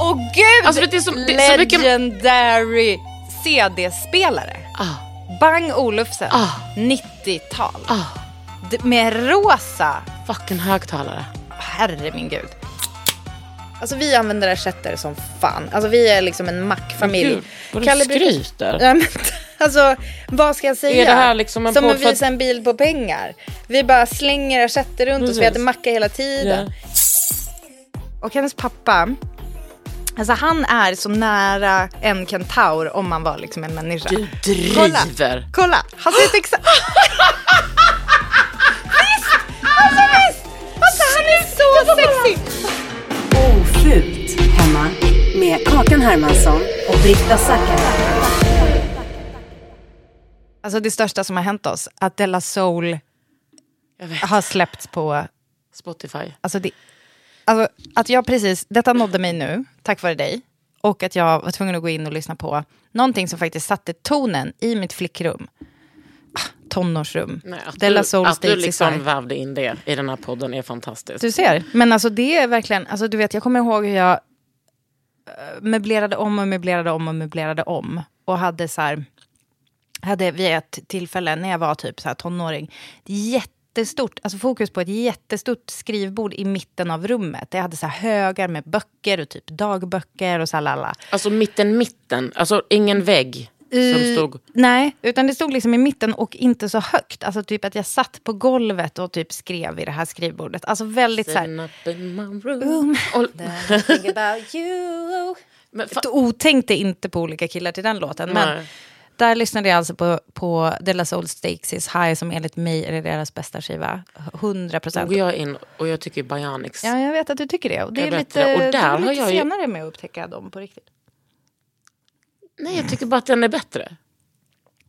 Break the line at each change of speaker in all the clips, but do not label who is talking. Åh gud!
Alltså, vet du, det är så- det är så mycket-
Legendary CD-spelare.
Ah.
Bang Olufsen.
Ah.
90-tal.
Ah,
D- Med rosa.
fucking högtalare.
Herre min gud. Alltså vi använder ersättare som fan. Alltså vi är liksom en mackfamilj.
Gud, vad du
Kalle brukar-
skryter.
Ja, men, alltså, vad ska jag säga?
Är det här liksom en
Som
podd
att
för att-
visa en bil på pengar. Vi bara slänger ersättare runt oss. Vi
Precis.
äter macka hela tiden.
Ja.
Och hennes pappa, alltså han är så nära en kentaur om man var liksom en människa.
Du driver.
Kolla, han ser ut exakt... Visst! Alltså visst! Alltså han är så sexig!
Ofult hemma med Kakan Hermansson och Britta Zackari.
Alltså det största som har hänt oss, att Della Soul
Jag vet.
har släppts på...
Spotify.
Alltså, det, alltså att jag precis... Detta nådde mig nu, tack vare dig. Och att jag var tvungen att gå in och lyssna på någonting som faktiskt satte tonen i mitt flickrum. Ah, Tonårsrum.
Nej, att
Della
du,
Soul
att du
States
liksom
Isar.
vävde in det i den här podden är fantastiskt.
Du ser. Men alltså det är verkligen, alltså du vet jag kommer ihåg hur jag eh, möblerade om och möblerade om och möblerade om. Och hade så här, hade vid ett tillfälle när jag var typ så här tonåring, ett jättestort, alltså fokus på ett jättestort skrivbord i mitten av rummet. Jag hade så här högar med böcker och typ dagböcker och så här lalla.
Alltså mitten, mitten. Alltså ingen vägg som stod...
Nej, utan det stod liksom i mitten och inte så högt. Alltså typ att jag satt på golvet och typ skrev i det här skrivbordet. Alltså väldigt så här...
Sitting up in my room. Och, men fa-
O tänkte inte på olika killar till den låten. Men
Nej.
där lyssnade jag alltså på, på De La Soul Stakes is High som enligt mig är deras bästa skiva. 100
Då
procent.
går jag in och jag tycker Bionics.
Ja, jag vet att du tycker det. Och det
Jag
är
vet
lite,
det. Och
det.
där
är
har
lite
jag ju-
senare med att upptäcka dem på riktigt.
Nej, jag tycker bara att den är bättre.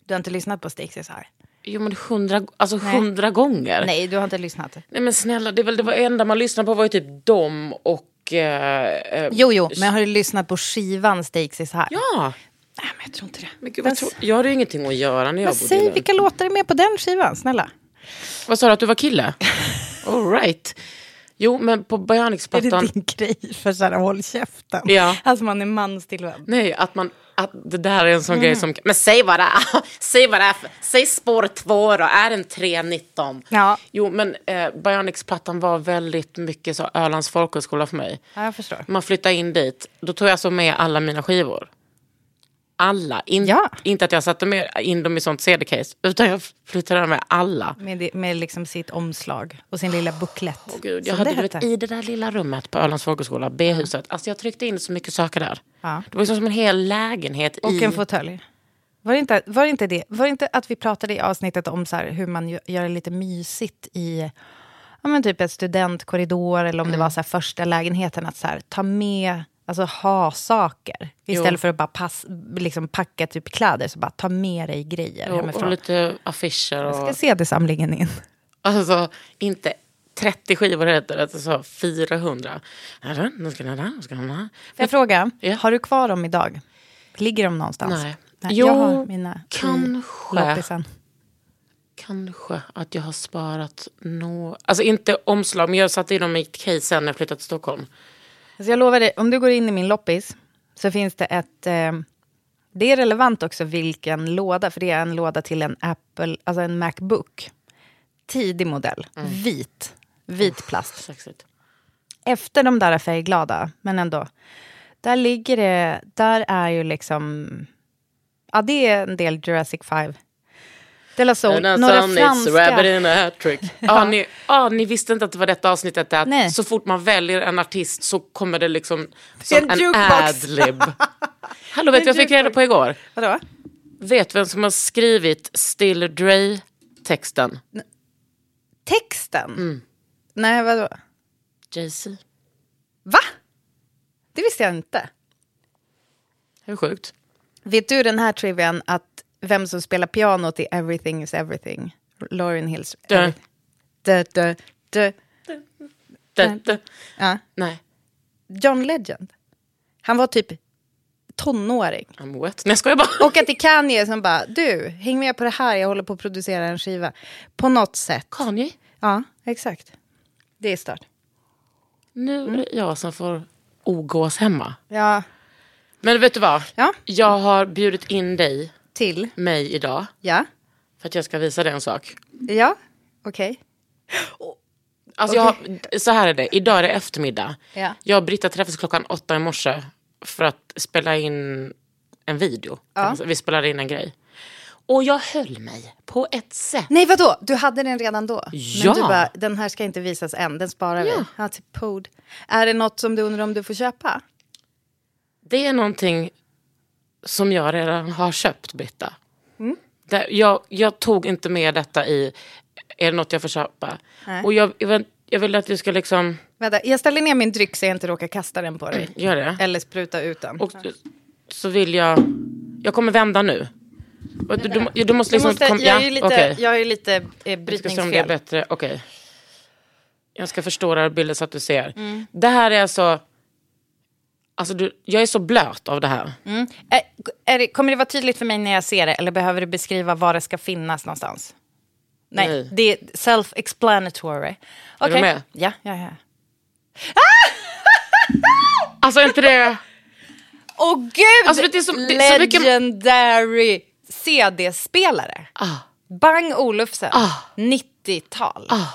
Du har inte lyssnat på Stakes is High?
Jo men hundra, alltså hundra gånger.
Nej, du har inte lyssnat.
Nej men snälla, det är väl det var enda man lyssnade på var ju typ dem och... Eh, eh,
Jo, jo, men har du lyssnat på skivan Stakes is High?
ja!
Nej, men jag tror inte det.
Men gud, vad tror, jag hade ju ingenting att göra när jag
Men
bodde i
säg
den.
vilka låtar är med på den skivan, snälla.
Vad sa du att du var kille? All right. Jo men på
Är
Bionics-plattan...
det din grej för så här håll käften?
Ja.
Alltså man är manstillvänd.
Nej, att man... Att det där är en sån
Mm.
grej som... Men säg vad det är! säg vad det är för, Säg spår två då, är den 319?
Ja.
Jo men eh, Bionics-plattan var väldigt mycket så Ölands folkhögskola för mig.
Ja, jag förstår.
man flyttade in dit, då tog jag alltså med alla mina skivor. Alla. In,
Ja.
Inte att jag satte med, in dem i sånt CD-case, utan jag flyttade med alla.
Med, det- med liksom sitt omslag och sin lilla booklet.
Åh gud,
som
jag hade
det
blivit
hette.
i det där lilla rummet på Ölands folkhögskola, B-huset. Alltså jag tryckte in så mycket saker där.
Ja.
Det var liksom som en hel lägenhet
Och
i...
en fåtölj. Var det, inte, var, det inte det? var det inte att vi pratade i avsnittet om så här, hur man gö- gör det lite mysigt i ja, men typ ett studentkorridor eller
Mm.
om det var så här första lägenheten, att så här, ta med, alltså ha saker. Istället för att bara pass, liksom packa typ kläder, så bara ta med dig grejer
och,
hemifrån.
och lite affischer
Jag
och...
ska se det samlingen in.
Alltså, inte 30 skivor heter det, alltså, så 400. Nu ska den här, nu ska den här.
Får jag fråga,
Ja.
har du kvar dem idag? Ligger de någonstans?
Nej.
jag
Jo,
har mina i
kanske.
loppisen.
Kanske att jag har sparat några, alltså inte omslag, men jag satte i dem i ett case sen när jag flyttade till Stockholm.
Alltså jag lovar dig, om du går in i min loppis så finns det ett... Eh, det är relevant också vilken låda, för det är en låda till en Apple, alltså en Macbook. Tidig modell,
Mm.
vit, vit plast.
Sexigt.
Efter de där färgglada, men ändå. Där ligger det, där är ju liksom... Ja, det är en del Jurassic 5. De la Soul,
Den här
några
Sundays, rabbit
franska...
in a hat trick. ja. ni, ah, ni visste inte att det var detta avsnittet. Att
Nej.
Så fort man väljer en artist så kommer det liksom
är
som
en
en,
jukebox.
adlib. Hallå, vet du vad jag fick reda på igår?
Vadå?
Vet du vem som har skrivit Still Dre-texten?
Texten? Nej, vadå?
Jay-Z.
Va? Det visste jag inte.
Hur sjukt?
Vet du den här trivian att vem som spelar pianot i Everything is everything? Lauryn Hills.
Dö.
Dö, dö, dö.
Dö, dö.
Ja.
Nej,
John Legend. Han var typ tonåring.
I'm wet. Nej, jag skojar bara.
Och att det är Kanye som bara, du, häng med på det här, jag håller på att producera en skiva. På något sätt.
Kanye,
Ja, exakt. Det är stört.
nu är det jag som får ogås hemma.
Ja,
Men vet du vad?
Ja.
Jag har bjudit in dig,
till.
mig idag,
Ja,
för att jag ska visa dig en sak.
ja, okej.
Alltså jag, så här är det, idag är det eftermiddag.
Ja.
Jag och Britta träffades klockan åtta i morse för att spela in en video. Vi spelade in en grej. Och jag höll mig på ett sätt.
Nej, vadå? Du hade den redan då?
Ja.
Men du bara, den här ska inte visas än, den sparar vi. Ja, till pod. Är det något som du undrar om du får köpa?
Det är någonting som jag redan har köpt, Britta.
Mm.
Det, jag, jag tog inte med detta i, är det något jag får köpa? Och jag, jag, vill- jag vill att du ska liksom,
Vänta, jag ställer ner min dryck så jag inte råkar kasta den på dig.
gör det.
Eller spruta ut den.
Och så vill jag... Jag kommer vända nu. Och Du, du, du måste
jag,
liksom...
måste,
kom-
jag är ju lite,
okej.
jag är ju lite eh,
Vi ska se om det är
brytningsfel.
bättre. Okej. Jag ska förstora bilden så att du ser.
Mm.
Det här är alltså... Alltså du, jag är så blöt av det här.
Är, Eh, är det, kommer det vara tydligt för mig när jag ser det eller behöver du beskriva var det ska finnas någonstans? Nej,
Nej.
det är self-explanatory.
du
Okej.
med?
Ja, ja, ja.
Alltså är inte det...
Åh gud!
Alltså, vet du, det är så- det är så mycket-
Legendary CD-spelare.
Ah.
Bang Olufsen. 90-tal.
Ah.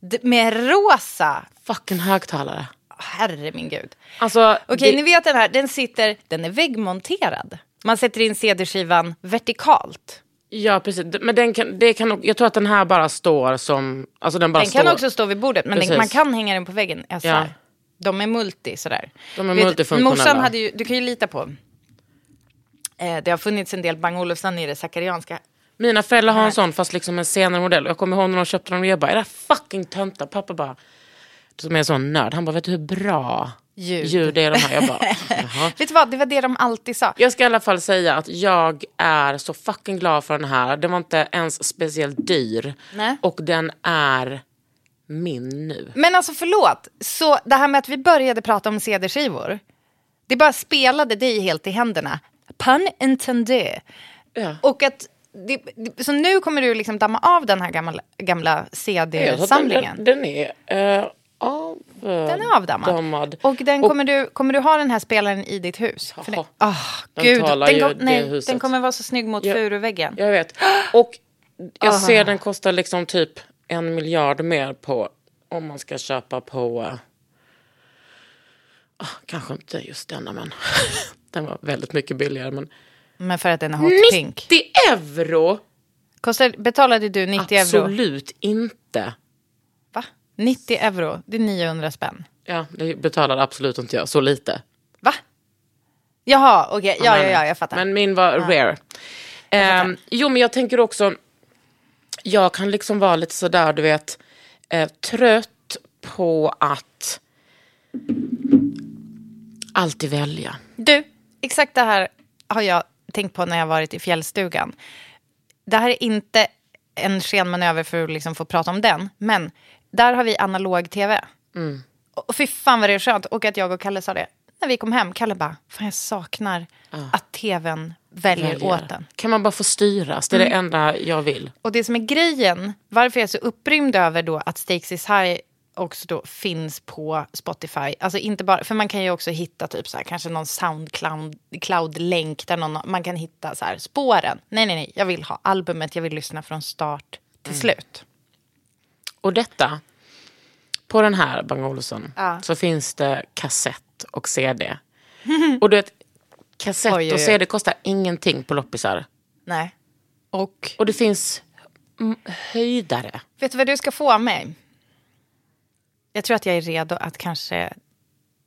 D- Med rosa.
Fucking högtalare.
Herre min gud.
Alltså...
Okej,
det,
ni vet den här. Den sitter, den är väggmonterad. Man sätter in CD-skivan vertikalt.
Ja, precis. Men den kan, det kan, nog- jag tror att den här bara står som... Alltså den bara
Den kan
står.
också stå vid bordet, men den,
Precis.
man kan hänga den på väggen. Alltså,
Ja.
De är multi sådär.
De är
Vet-
multifunktionella.
Morsan hade ju, du kan ju lita på. Eh, det har funnits en del Bang Olufsen i det sakarianska
Mina föräldrar har en sån fast liksom en senare modell. Och Jag kommer ihåg när de köpte den och jag bara, är det här fucking töntar? Pappa bara, som är en sån nörd, han bara, vet du hur bra
Ljud.
ljud är de här? Jag bara, jaha.
Vet du vad, det var det de alltid sa.
Jag ska i alla fall säga att jag är så fucking glad för den här. Den var inte ens speciellt dyr.
Nej.
Och den är min nu.
Men alltså förlåt, så det här med att vi började prata om CD-skivor, det bara spelade dig helt i händerna. Pun intendé.
Ja.
Och att, det, det, så nu kommer du liksom damma av den här gamla, gamla CD-samlingen.
Den, den är eh, av...
Den är avdammad.
dammad.
Och, den kommer, du, kommer du ha den här spelaren i ditt hus? För
Jaha.
det, oh,
Den
gud.
talar ju
kom-
det
nej,
huset.
den kommer vara så snygg mot
Ja.
furuväggen.
Jag vet. Och jag
Ah.
ser den kostar liksom typ en miljard mer på om man ska köpa på... eh, ah, kanske inte just denna, men den var väldigt mycket billigare. Men
Men för att den är hot pink.
90 euro?
Kostar, betalade du 90 euro?
Absolut inte.
Va? 90 euro, det är 900 spänn.
Ja, det betalade absolut inte jag. Så lite.
Va? Jaha, okej. Ja, ja, ja, jag fattar.
Men min var rare. Ehm, jo, men jag tänker också... Jag kan liksom vara lite sådär, du vet, eh, trött på att alltid välja.
Du, exakt det här har jag tänkt på när jag varit i fjällstugan. Det här är inte en skenmanöver för att liksom få prata om den, men där har vi analog-tv. Och fy fan vad det är skönt. Och att jag och Kalle sa det. När vi kom hem, Kalle bara, fan jag saknar att tvn väljer, åt den.
Kan man bara få styras? Det är det enda jag vill.
Och det som är grejen, varför jag är så upprymd över då att Stakes is high också då finns på Spotify. Alltså inte bara, för man kan ju också hitta typ så här, kanske någon Soundcloud-länk där någon, man kan hitta så här, spåren. Nej, nej, nej, jag vill ha albumet, jag vill lyssna från start till
Mm.
slut.
Och detta, på den här Bang Olufsen, så finns det kassett och CD. och du vet, kassett
Oj, oj,
och
oj.
CD kostar ingenting på loppisar.
Nej. Och
Och det finns mm, höjdare.
vet du vad du ska få av mig? Jag tror att jag är redo att kanske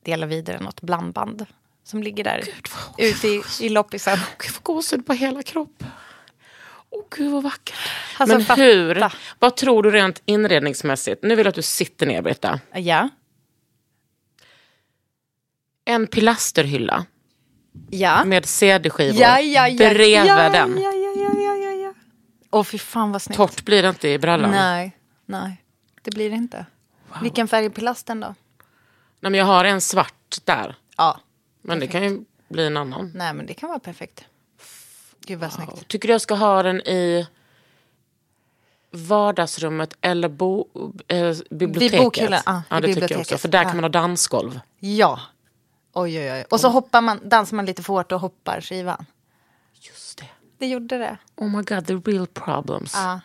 dela vidare något blandband som ligger där ute i, i loppisen.
Gud, jag får gåshud på hela kroppen. Åh gud vad vackert.
Alltså,
Men
fatta.
hur, vad tror du rent inredningsmässigt? Nu vill jag att du sitter ner Britta.
Ja.
En pilasterhylla
Ja.
med CD-skivor
Ja, ja, ja.
bredvid
ja,
den.
Ja, ja, ja, ja, ja, ja. Åh, fy fan vad snyggt.
Torrt blir det inte i brallan. Nej.
Nej, nej. Det blir det inte. Vilken färg är pilasten då?
men jag har en svart där.
Ja.
Men det kan ju bli en annan.
Nej, men det kan vara perfekt. Gud vad snyggt.
Tycker du jag ska ha den i vardagsrummet eller bo, eh, biblioteket?
bokhyllan, ja,
ja
i
det tycker jag
biblioteket. Ah.
också. För där
Ja.
kan man ha dansgolv.
Ja. Oj, oj, oj. Och så hoppar man, dansar man lite för hårt och hoppar skivan.
Just det.
Det Ah. gjorde det.
Oh my god, the real problems. Ja.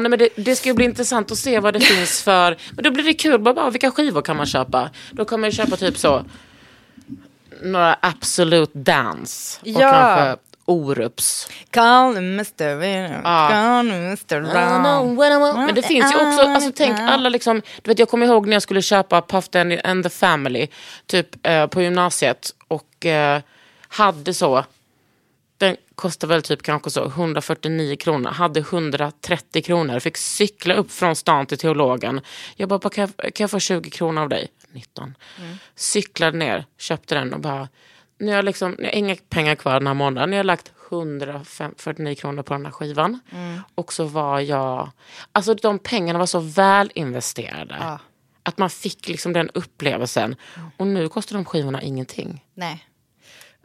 nej, men det, det ska ju bli intressant att se vad det finns för... Men då blir det kul. Bara, bara, vilka skivor kan man köpa? Då kommer jag köpa typ så... Några Absolute Dance. Och
Ja.
kanske Orups.
Call me Mr. Venus,
Ja.
call me Mr. Brown.
Men det finns ju också... Alltså, tänk alla liksom... Du vet, jag kommer ihåg när jag skulle köpa Puff Daddy and the Family. Typ eh, på gymnasiet. Och eh, hade så... Den kostade väl typ kanske så 149 kronor. Hade 130 kronor. Fick cykla upp från stan till teologen. Jag bara, "Pappa, kan jag, kan jag få 20 kronor av dig? 19. Cyklade ner, köpte den och bara, nu har jag, liksom, jag har inga pengar kvar den här månaden. Jag har lagt 149 kronor på den här skivan. Och så var jag, alltså de pengarna var så väl investerade. Att man fick liksom den upplevelsen. Och nu kostar de skivorna ingenting.
Nej.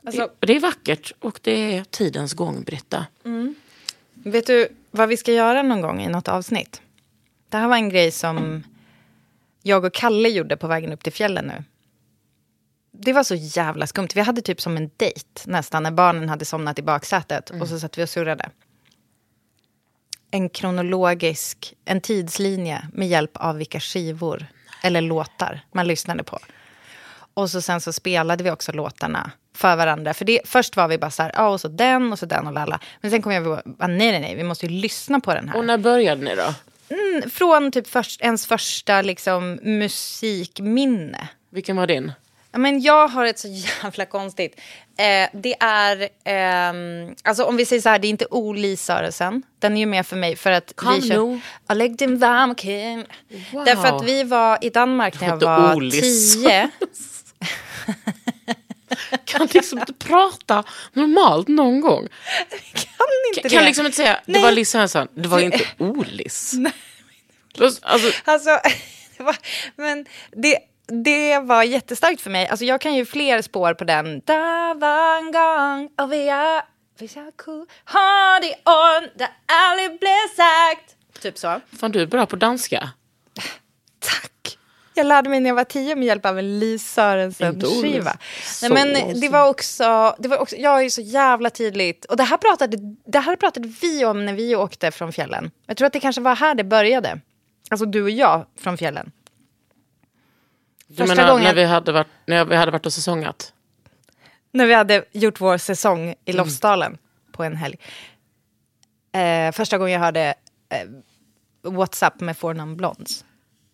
Alltså,
Det, det är vackert och det är tidens gång, Britta.
Vet du vad vi ska göra någon gång i något avsnitt? Det här var en grej som jag och Kalle gjorde på vägen upp till fjällen nu. Det var så jävla skumt. Vi hade typ som en dejt nästan när barnen hade somnat i baksätet och så satt vi och surrade. En kronologisk, en tidslinje med hjälp av vilka skivor eller låtar man lyssnade på. Och så sen så spelade vi också låtarna för varandra. För det, först var vi bara så här, ja och så den och så den och lalla. Men sen kom jag på, ah, nej nej nej, vi måste ju lyssna på den här
Och när började ni då?
från typ först, ens första liksom, musikminne.
Vilken var din?
Ja, Men jag har ett så jävla konstigt. Eh, det är, ehm, alltså om vi säger så här, det är inte Oli Söresen. Den är ju med för mig för att
Kom
vi kör...
nu.
Jag lägger din varm kring.
Wow.
Därför att vi var i Danmark när jag
Inte
var
Oli
tio.
Kan liksom inte prata normalt någon gång.
Kan inte
Kan
det.
liksom inte säga, det
Nej.
var Liss Svensson, det var inte Olis. Alltså,
Alltså, det var, men det, det var jättestarkt för mig. Alltså, jag kan ju fler spår på den. Da var en gång och vi är... Vi är cool. Ha det on, det aldrig blir sagt. Typ så.
fan du är bra på danska.
Tack! Jag lärde mig när jag var tio med hjälp av en Li
Inte Olle.
Sörensen-skiva.
Så
Nej, men det
awesome.
var också, det var också... Jag är ju så jävla tidigt. Och det här, pratade, det här pratade vi om när vi åkte från fjällen. Jag tror att det kanske var här det började. Alltså du och jag från fjällen.
Du
Första
menar
gången-
när vi hade varit, när vi hade varit och säsongat?
När vi hade gjort vår säsong
Mm.
i Lofsdalen på en helg. Eh, första gången jag hörde eh, WhatsApp med Four Non Blondes.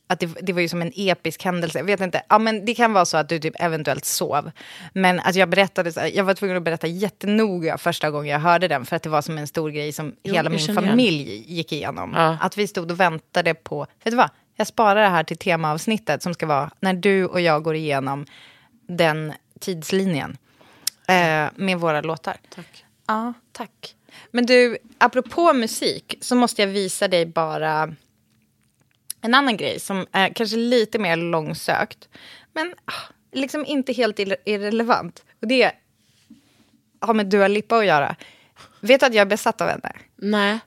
Att det, det var ju som en episk händelse. Jag vet inte, ja, men det kan vara så att du typ eventuellt sov. Men att jag, berättade, så här- jag var tvungen att berätta jättenoga första gången jag hörde den. För att det var som en stor grej som
Jo,
hela
jag
min
känner igen.
familj gick igenom.
Ja.
Att vi stod och väntade på, vet du vad? Jag sparar det här till temaavsnittet som ska vara när du och jag går igenom den tidslinjen eh, med våra låtar. Tack. Ja, tack. Men du, apropå musik så måste jag visa dig bara En annan grej som är kanske lite mer långsökt, men ah, liksom inte helt irre- irrelevant. Och det har med Dua Lipa att göra. Vet du att jag är besatt av henne?
Nej.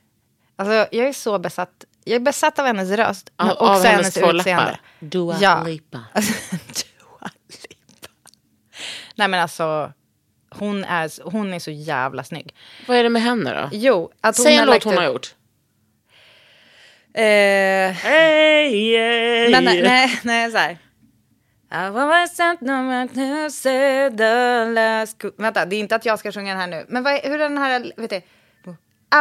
Alltså, jag är så besatt. Jag är besatt av hennes röst, men
Av,
också
av hennes
hennes,
två
utseende.
läppar. Dua
Ja.
Lipa.
Alltså, Dua Lipa. Nej men alltså, hon är, s- hon är så jävla snygg.
Vad är det med henne då?
Jo, att hon
Säg en
har
låt
lagt
hon
ut-
har gjort.
Eh,
Hey, yeah.
Nej, nej, nej, nej så här. I was sent no man to say the last co- Vänta, det är inte att jag ska sjunga den här nu. Men vad, är- hur är den här, vet du? I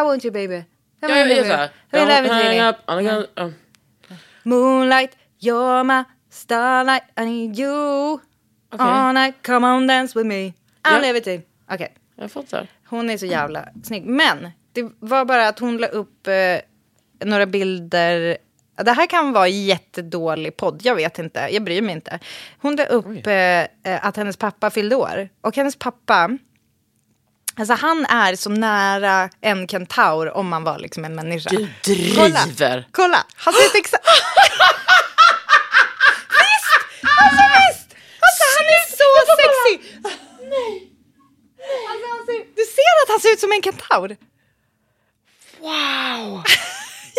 want you baby. I
Ja,
want
jag
you,
är så här.
baby. I love you,
Hang
baby.
up, I'm gonna- uh.
Moonlight, you're my starlight, I need you.
Okej.
All night, come on dance with me. I'm
Ja.
levitating. Okej.
Jag fattar.
Hon är så jävla snygg. Men det var bara att hon la upp eh, några bilder. Det här kan vara jättedålig podd, jag vet inte. Jag bryr mig inte. Hon la upp eh, eh, att hennes pappa fyllde år. Och hennes pappa, alltså han är så nära en kentaur om man var liksom en människa.
Du driver.
Kolla, kolla. han ser ut exakt... visst! Alltså visst! Alltså han är så sexig! Alltså, han ser, du ser att han ser ut som en kentaur.
Wow.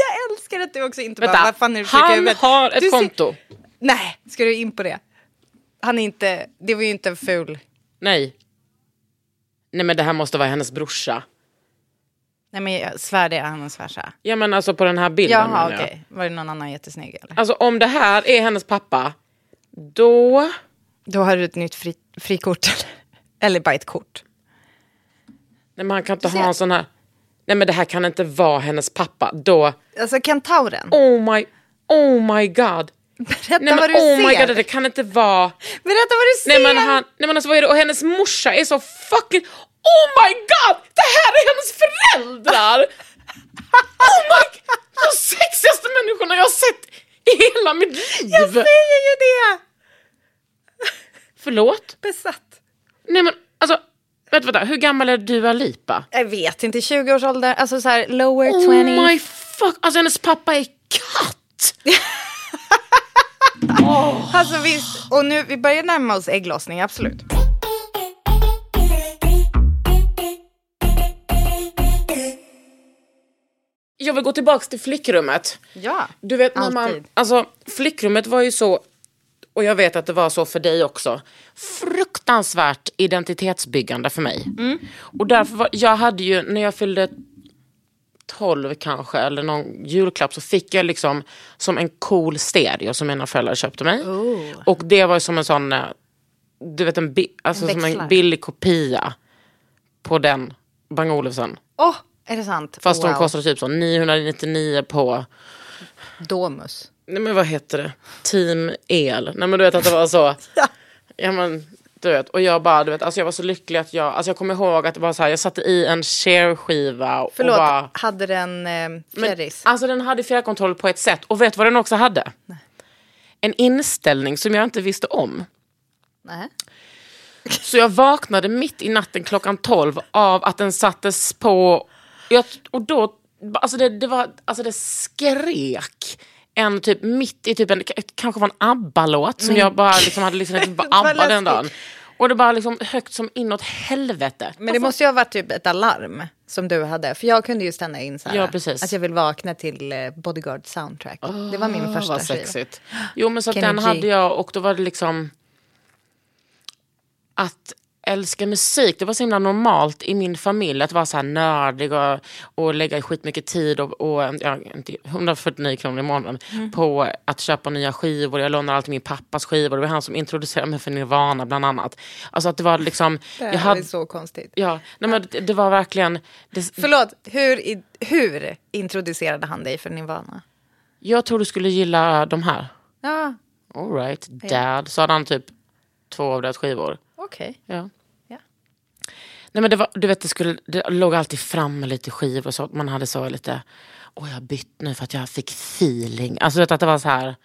Jag älskar att du också inte bara,
Vänta,
vad fan är det du försöker
han
över-
har ett
Du ser-
konto.
Nej, ska du in på det? Han är inte, det var ju inte en ful.
Nej. Nej men det här måste vara hennes brorsa.
Nej men jag svär det är hans farsa.
Ja men alltså på den här bilden
Jaha
menar
okej,
jag.
var det någon annan jättesnygg eller?
Alltså om det här är hennes pappa, då...
Då har du ett nytt fri, frikort eller, eller bara ett kort.
Nej men han kan inte ha en sån här... Nej men det här kan inte vara hennes pappa. Då...
Alltså kentauren,
Oh my... Oh my god.
berätta
Nej
vad
men
du
oh
ser.
my god, det kan inte vara...
Berätta vad du
Nej
ser.
men, han, nej men alltså vad är det? Och hennes morsa är så fucking... Oh my god! Det här är hennes föräldrar! Oh my god! De sexigaste människorna jag har sett i hela mitt liv!
Jag säger ju det!
Förlåt?
Besatt.
Nej men alltså, vänta, vänta. Hur gammal är Dua Lipa?
Jag vet inte, 20-årsåldern, alltså så här lower 20.
Oh my fuck! Alltså hennes pappa är katt!
Alltså visst, och nu, vi börjar närma oss ägglossning, absolut.
Jag vill gå tillbaks till flickrummet.
Ja,
Du vet när man,
alltid.
alltså flickrummet var ju så, och jag vet att det var så för dig också, fruktansvärt identitetsbyggande för mig.
Mm.
Och därför var, jag hade ju, när jag fyllde 12 kanske, eller någon julklapp, så fick jag liksom som en cool stereo som mina föräldrar köpte mig.
Oh.
Och det var ju som en sån, eh, du vet en, bi- alltså som en
Växlar.
billig kopia på den Bang Olufsen.
Åh, oh, är det sant?
Fast de
Wow.
kostade typ så 999 på
Domus.
Nej men vad heter det? Team El. Nej men du vet att det var så. ja men du vet. Och jag bara, du vet, alltså jag var så lycklig att jag, alltså jag kommer ihåg att det var så här, jag satte i en share-skiva och
Förlåt,
bara.
hade den eh, fjärris?
Alltså den hade fjärrkontroll på ett sätt. Och vet du vad den också hade? En inställning som jag inte visste om.
Nej.
Så jag vaknade mitt i natten klockan 12 av att den sattes på. Jag, och då, alltså det, det var, alltså det skrek. En typ mitt i typ en, det kanske var en ABBA-låt som jag bara liksom hade lyssnat på
Mm. Vad
ABBA den
läskigt.
dagen. Och det bara liksom högt som inåt helvete.
Men det måste ju ha varit typ ett alarm som du hade. För jag kunde ju stanna in så här.
Ja, precis.
Att jag vill vakna till eh, Bodyguard soundtrack. det var min första
vad
skiva.
sexigt. Jo men så att
Kenny
den
G.
hade jag och då var det liksom att älska musik, det var så himla normalt i min familj att vara så här nördig och, och lägga skitmycket tid och, och ja, inte- 149 kronor i månaden
Mm.
på att köpa nya skivor. Jag lånade alltid min pappas skivor, det var han som introducerade mig för Nirvana bland annat. Alltså att det var liksom...
Det här
jag hade,
är så konstigt.
ja, nej, men det, det var verkligen... Det,
Förlåt, hur, i, hur introducerade han dig för Nirvana?
jag tror du skulle gilla de här.
Ja,
All right, dad. Så hade han typ två av deras skivor.
okej.
Ja.
Ja.
Nej, men det, var, du vet, det, skulle, det låg alltid fram med lite skivor och så. Man hade så lite, åh jag har bytt nu för att jag fick feeling. Alltså du vet, att det var så här.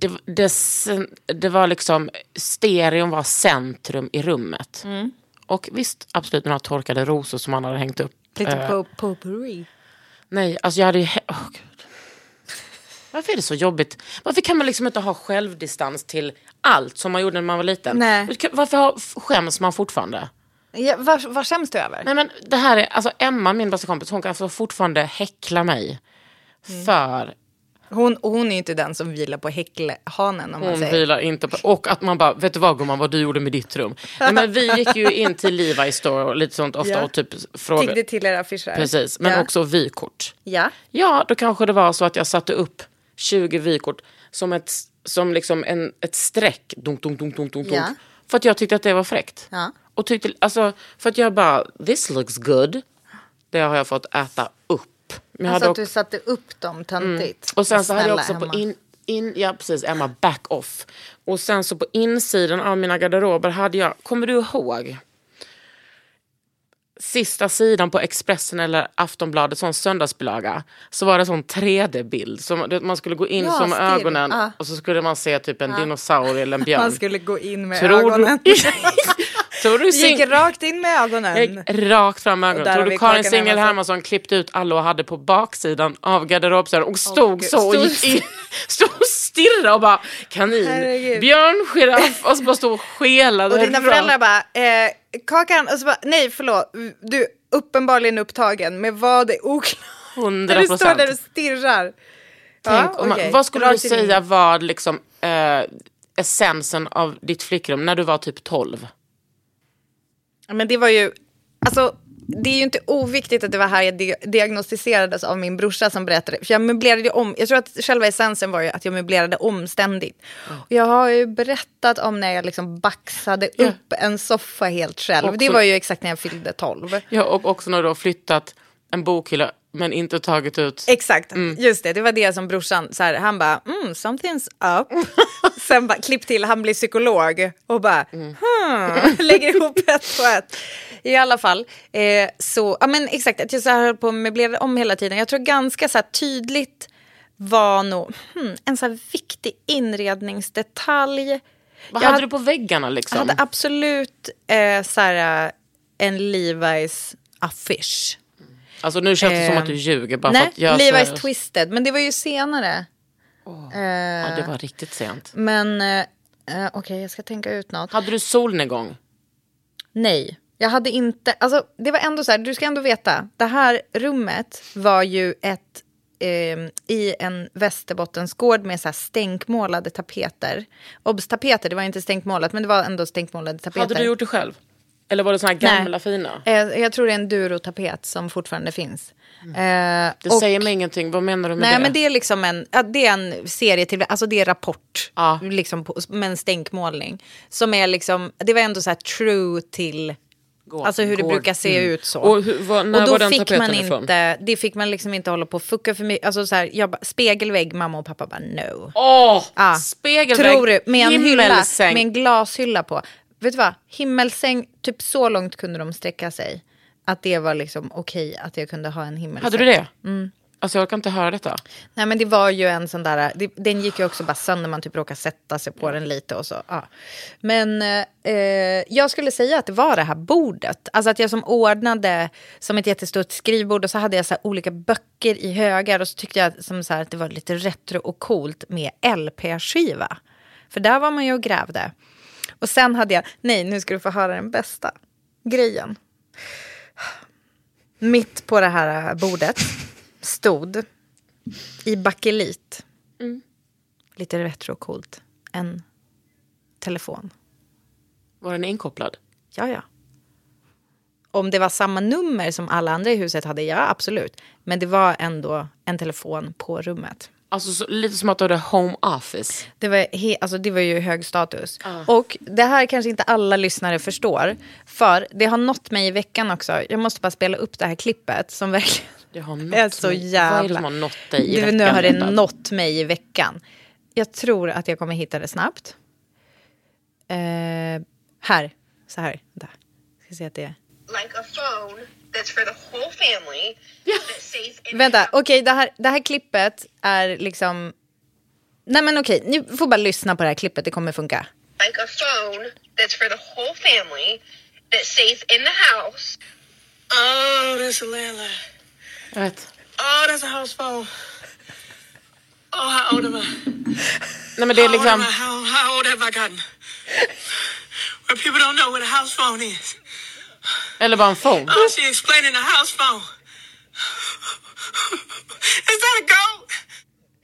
Det, det, sen- det var liksom, stereon var centrum i rummet. Och visst, absolut några torkade rosor som man hade hängt upp.
Lite
Eh,
po- potpourri.
Nej, alltså jag hade ju... he- Åh gud. Varför är det så jobbigt? Varför kan man liksom inte ha självdistans till allt som man gjorde när man var liten?
Nej.
Varför kan- Varför har- f- skäms man fortfarande?
Ja, vad, vad skäms du över?
Nej men det här är, alltså Emma, min bästa kompis, hon kan alltså fortfarande häckla mig.
Mm.
För
Hon, hon är ju inte den som vilar på häckelhanen om man
hon
säger.
vilar inte på, och att man bara, vet du vad gumman, vad du gjorde med ditt rum. Nej, men vi gick ju in till Levi's store och lite sånt ofta
Ja.
och typ
Fick det
frågade.
till era affischer?
Precis, men
ja.
också vykort.
Ja.
Ja, då kanske det var så att jag satte upp 20 vykort som ett, som liksom en, ett streck. Dunk, dunk, dunk, dunk, dunk,
Ja.
dunk, för att jag tyckte att det var fräckt.
Ja.
Och tyckte, alltså, för att jag bara, this looks good. Det har jag fått äta upp. Men jag
Alltså
hade
att du
också- Mm.
satte upp dem töntigt.
och sen så hade jag
Snälla,
också på
Emma.
in, in, ja precis, Emma back off. Och sen så på insidan av mina garderober hade jag, kommer du ihåg? Sista sidan på Expressen eller Aftonbladet, sån söndagsbilaga. Så var det sån 3D-bild. Så man, du vet, man skulle gå in
Ja,
som
stirr.
ögonen
Ja.
och så skulle man se typ en dinosaurie eller en björn.
Man skulle gå in med
Tror du-
ögonen.
Tror du
Gick
sing-
rakt in med ögonen.
jag gick rakt fram med
Och där
ögonen. Tror
har
du
vi
Karin
Kakan
Singel
Hermansson.
Hermansson klippte ut alla och hade på baksidan av garderobsdörren och stod
gud.
så och
Stod-
gick in, stod och stirrade och bara kanin,
Herregud.
björn, giraff och så bara stod och skelade.
Och dina
rakt.
föräldrar bara, eh, Kakan, och så bara, nej förlåt, du är uppenbarligen upptagen med vad är oklart.
100
När du står
procent.
där och stirrar.
Tänk, om man,
okej.
Vad skulle du
Rakt in i-
säga var liksom, eh, essensen av ditt flickrum när du var typ 12?
Men det var ju, alltså det är ju inte oviktigt att det var här jag di- diagnostiserades av min brorsa som berättade. För jag möblerade ju om, jag tror att själva essensen var ju att jag möblerade omständigt. Och jag har ju berättat om när jag liksom baxade upp en soffa helt själv.
Också-
Det var ju exakt när jag fyllde 12.
Ja, och också när du har flyttat en bokhylla men inte tagit ut
Exakt,
Mm.
just det. Det var det som brorsan, så här, han bara mm, “something's up”. Sen bara, klipp till, han blir psykolog och bara
Mm.
hmm, lägger ihop ett och ett. I alla fall, eh, så, ja men exakt, att jag så här höll på och möblerade om hela tiden. Jag tror ganska så här tydligt var nog hmm, en så här viktig inredningsdetalj.
Vad
Jag
hade
hade-
du på väggarna liksom?
Jag hade absolut eh, så här, eh, en Levi's affisch.
Alltså nu känns det som
Ehm,
att du ljuger bara för
Nej,
att jag
Levi's
säger-
Twisted, men det var ju senare. Eh,
Ja, det var riktigt sent.
Men eh, eh, okej, jag ska tänka ut något.
Hade du solnedgång?
Nej, jag hade inte... Alltså, det var ändå så här, du ska ändå veta. Det här rummet var ju ett... ehm, I en Västerbottensgård med så här stänkmålade tapeter. Obs, tapeter, det var inte stänkmålat, men det var ändå stänkmålade tapeter.
Hade du gjort det själv? Eller var det såna här
Nej.
gamla fina?
Eh, jag tror det är en durotapet som fortfarande finns. Eh,
Mm. Det
och-
säger mig ingenting. Vad menar du med
Nej,
det?
men det är liksom en, ja, det är en serie till, alltså det är Rapport,
Ja.
liksom på, med en stänkmålning. Som är liksom, det var ändå så här true till,
Gå-
alltså hur
gå-
det brukar se
mm.
ut så.
Och hur- var- när
Och då
var den
fick
tapeten
man
ifrån?
inte, det fick man liksom inte hålla på och fucka för mycket, alltså så här, jag bara, spegelvägg, mamma och pappa bara no.
Åh!
Ja.
Spegelvägg,
Tror du, med en, hylla,
himmelsäng.
med en glashylla på. Vet du vad, himmelsäng, typ så långt kunde de sträcka sig. Att det var liksom okej att jag kunde ha en himmelsäng.
Hade du det?
Mm.
Alltså jag kan inte höra detta.
Nej men det var ju en sån där, det, den gick ju också bara sönder, man typ råkade sätta sig på den lite och så. Ja. Men eh, jag skulle säga att det var det här bordet, alltså att jag som ordnade som ett jättestort skrivbord och så hade jag så här olika böcker i högar och så tyckte jag som så här att det var lite retro och coolt med LP-skiva. För där var man ju och grävde. Och sen hade jag, nej nu ska du få höra den bästa grejen. Mitt på det här bordet stod i bakelit. Lite retrocoolt. En telefon.
Var den inkopplad?
Ja, ja. Om det var samma nummer som alla andra i huset hade, ja absolut. Men det var ändå en telefon på rummet.
Alltså så, lite som att du hade home office.
Det var, he- alltså, det var ju hög status. Och det här kanske inte alla lyssnare förstår. För det har nått mig i veckan också. Jag måste bara spela upp det här klippet som verkligen
Det har nått
är så
mig.
jävla...
Vad är det som har nått dig i
Du, Nu
veckan,
har det
Linda?
nått mig i veckan. Jag tror att jag kommer hitta det snabbt. Eh, här, så här. Vänta. Ska se att det är.
like a phone that's for the whole family that stays in
Vänta, okej, det, här, det här klippet är liksom... Nej men okej, ni får bara lyssna på det här klippet, det kommer funka.
like a phone that's for the whole family that stays in the house.
Oh, that's a landline.
Jag vet.
Oh, that's a house phone.
Oh, how old am I?
Nej men det är
How old am
liksom,
I? How, how old have I gotten? Where people don't know what a house phone is.
eller bara en fång.
Oh, she explaining a house phone. Is that a goat?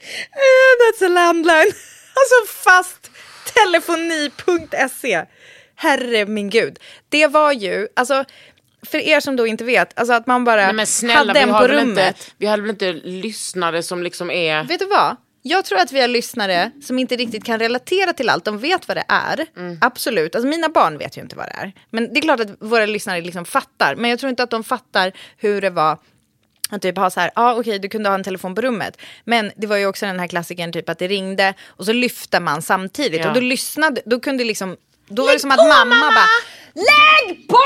Eh, That's a landline. Alltså fast telefoni.se. Herre min gud. Det var ju, alltså för er som då inte vet, alltså att man bara
Nej, men snälla,
hade
vi
den på
har, väl
rummet.
inte, vi har väl inte lyssnare som liksom är...
Vet du vad? Jag tror att vi har lyssnare som inte riktigt kan relatera till allt. De vet vad det är.
Mm.
Absolut. Alltså mina barn vet ju inte vad det är. Men det är klart att våra lyssnare liksom fattar. Men jag tror inte att de fattar hur det var att typ ha så här, ja ah, okej du kunde ha en telefon på rummet. Men det var ju också den här klassikern typ att det ringde och så lyfte man samtidigt.
Ja.
Och då lyssnade, då kunde liksom, då var det som att mamma, bara, lägg på!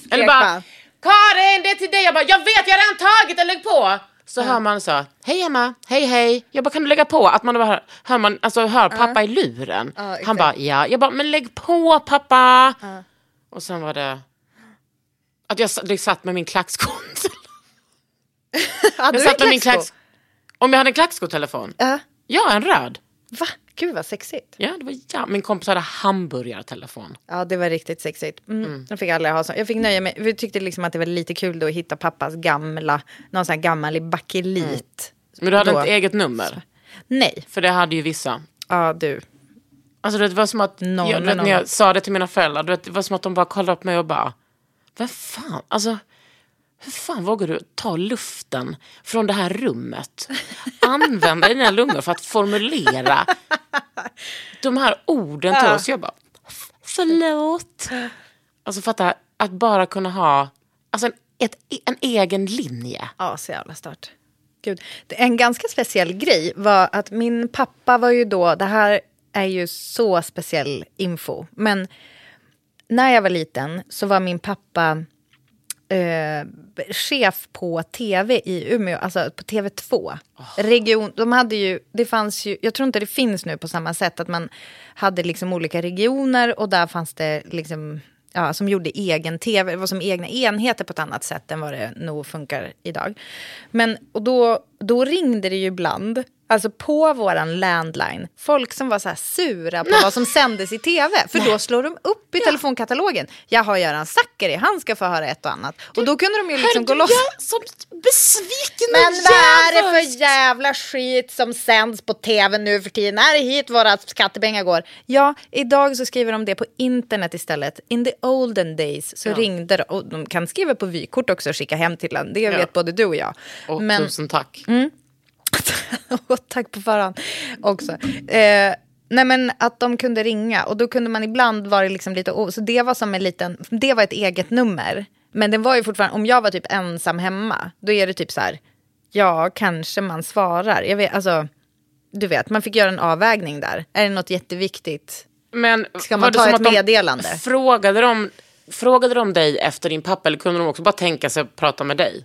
Skrek
Eller bara, Karin det är till dig. Jag bara, jag vet jag har redan tagit den, lägg på. Så hör man så, hej Emma, hej hej. Jag bara, kan du lägga på? Att man bara hör, hör, man, alltså, hör pappa i luren.
exakt.
Han bara, ja. Jag bara, men lägg på pappa. Och sen var det, att jag s- det satt med min klackskonsel.
Hade
Jag
du
satt med
en
min
klacksko?
klacks... Om jag hade en klackskotelefon?
Ja.
Ja, en röd.
Va? Gud vad sexigt.
Ja, det var ja. Min kompis hade hamburgartelefon.
Ja, det var riktigt sexigt. Mm. Jag fick aldrig ha så. Jag fick nöja mig. Vi tyckte liksom att det var lite kul då att hitta pappas gamla, någon sån här gammal i bakelit.
Mm. Men du hade
Då.
inte eget nummer?
Nej,
För det hade ju vissa.
ja du.
Alltså det var som att,
Någon
jag, du vet,
annan.
när jag sa det till mina föräldrar, du vet, det var som att de bara kollade upp mig och bara, vem fan, alltså, hur fan vågar du ta luften från det här rummet? Använda dina lungor för att formulera de här orden till oss. Jag bara, förlåt. Alltså fatta, att bara kunna ha alltså, en, ett, en egen linje.
Ja, så jävla stört. Gud. Det- En ganska speciell grej var att min pappa var ju då, det här är ju så speciell info, men när jag var liten så var min pappa eh, chef på tv i Umeå, alltså på TV2. Region, de hade ju, det fanns ju, jag tror inte det finns nu på samma sätt, att man hade liksom olika regioner och där fanns det liksom, ja, som gjorde egen tv, det var som egna enheter på ett annat sätt än vad det nog funkar idag. Men, och då, då ringde det ju ibland, alltså på våran landline, folk som var så här sura på vad som sändes i tv, för då slår de upp i telefonkatalogen, jag har Göran Zackari, han ska få höra ett och annat. Och då kunde de ju liksom gå loss.
jag som besviken
Men vad är det för jävla skit som sänds på tv nu för tiden? Är det hit våra skattepengar går? Ja, idag så skriver de det på internet istället. In the olden days så ringde de, och de kan skriva på vykort också och skicka hem till en. Det vet både du och jag.
Och
Men-
tusen tack.
och tack på förhand också. Eh, nej men att de kunde ringa och då kunde man ibland vara liksom lite o- Så det var som en liten, det var ett eget nummer. Men det var ju fortfarande, om jag var typ ensam hemma, då är det typ så här, ja kanske man svarar. Jag vet, alltså, du vet, man fick göra en avvägning där. Är det något jätteviktigt?
Men
Ska man
var det
ta
som
ett
att de
meddelande?
Frågade de, frågade de dig efter din pappa eller kunde de också bara tänka sig att prata med dig?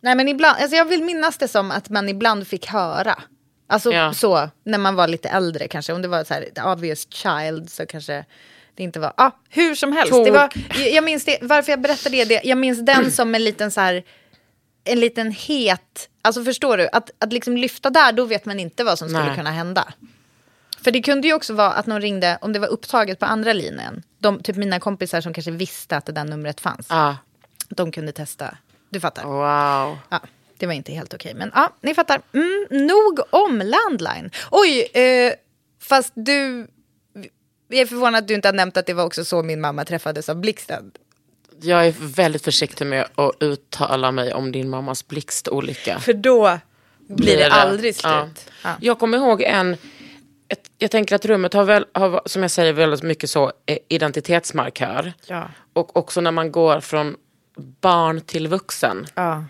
Nej men ibland, alltså jag vill minnas det som att man ibland fick höra. Alltså
Ja.
så, när man var lite äldre kanske. Om det var så här, ett obvious child så kanske det inte var. Ah, hur som helst,
Tog-
det var, jag- jag minns det, varför jag berättade det, det, jag minns den som en liten så här, en liten het, alltså förstår du, att, att liksom lyfta där, då vet man inte vad som skulle
Nej.
kunna hända. För det kunde ju också vara att någon ringde, om det var upptaget på andra linjen, de, typ mina kompisar som kanske visste att det där numret fanns,
Ah,
de kunde testa, du fattar.
wow.
Ja, det var inte helt okej, men ja, ni fattar. Mm, nog om landline. Oj, eh, fast du... Jag är förvånad att du inte har nämnt att det var också så min mamma träffades av blixten.
Jag är väldigt försiktig med att uttala mig om din mammas blixtolycka.
För då blir det aldrig slut. Ah.
Ja.
Ja.
Jag kommer ihåg en... Ett, jag tänker att rummet har, väl, har, som jag säger, väldigt mycket så eh, identitetsmarkör.
Ja.
Och också när man går från barn till vuxen.
Ja.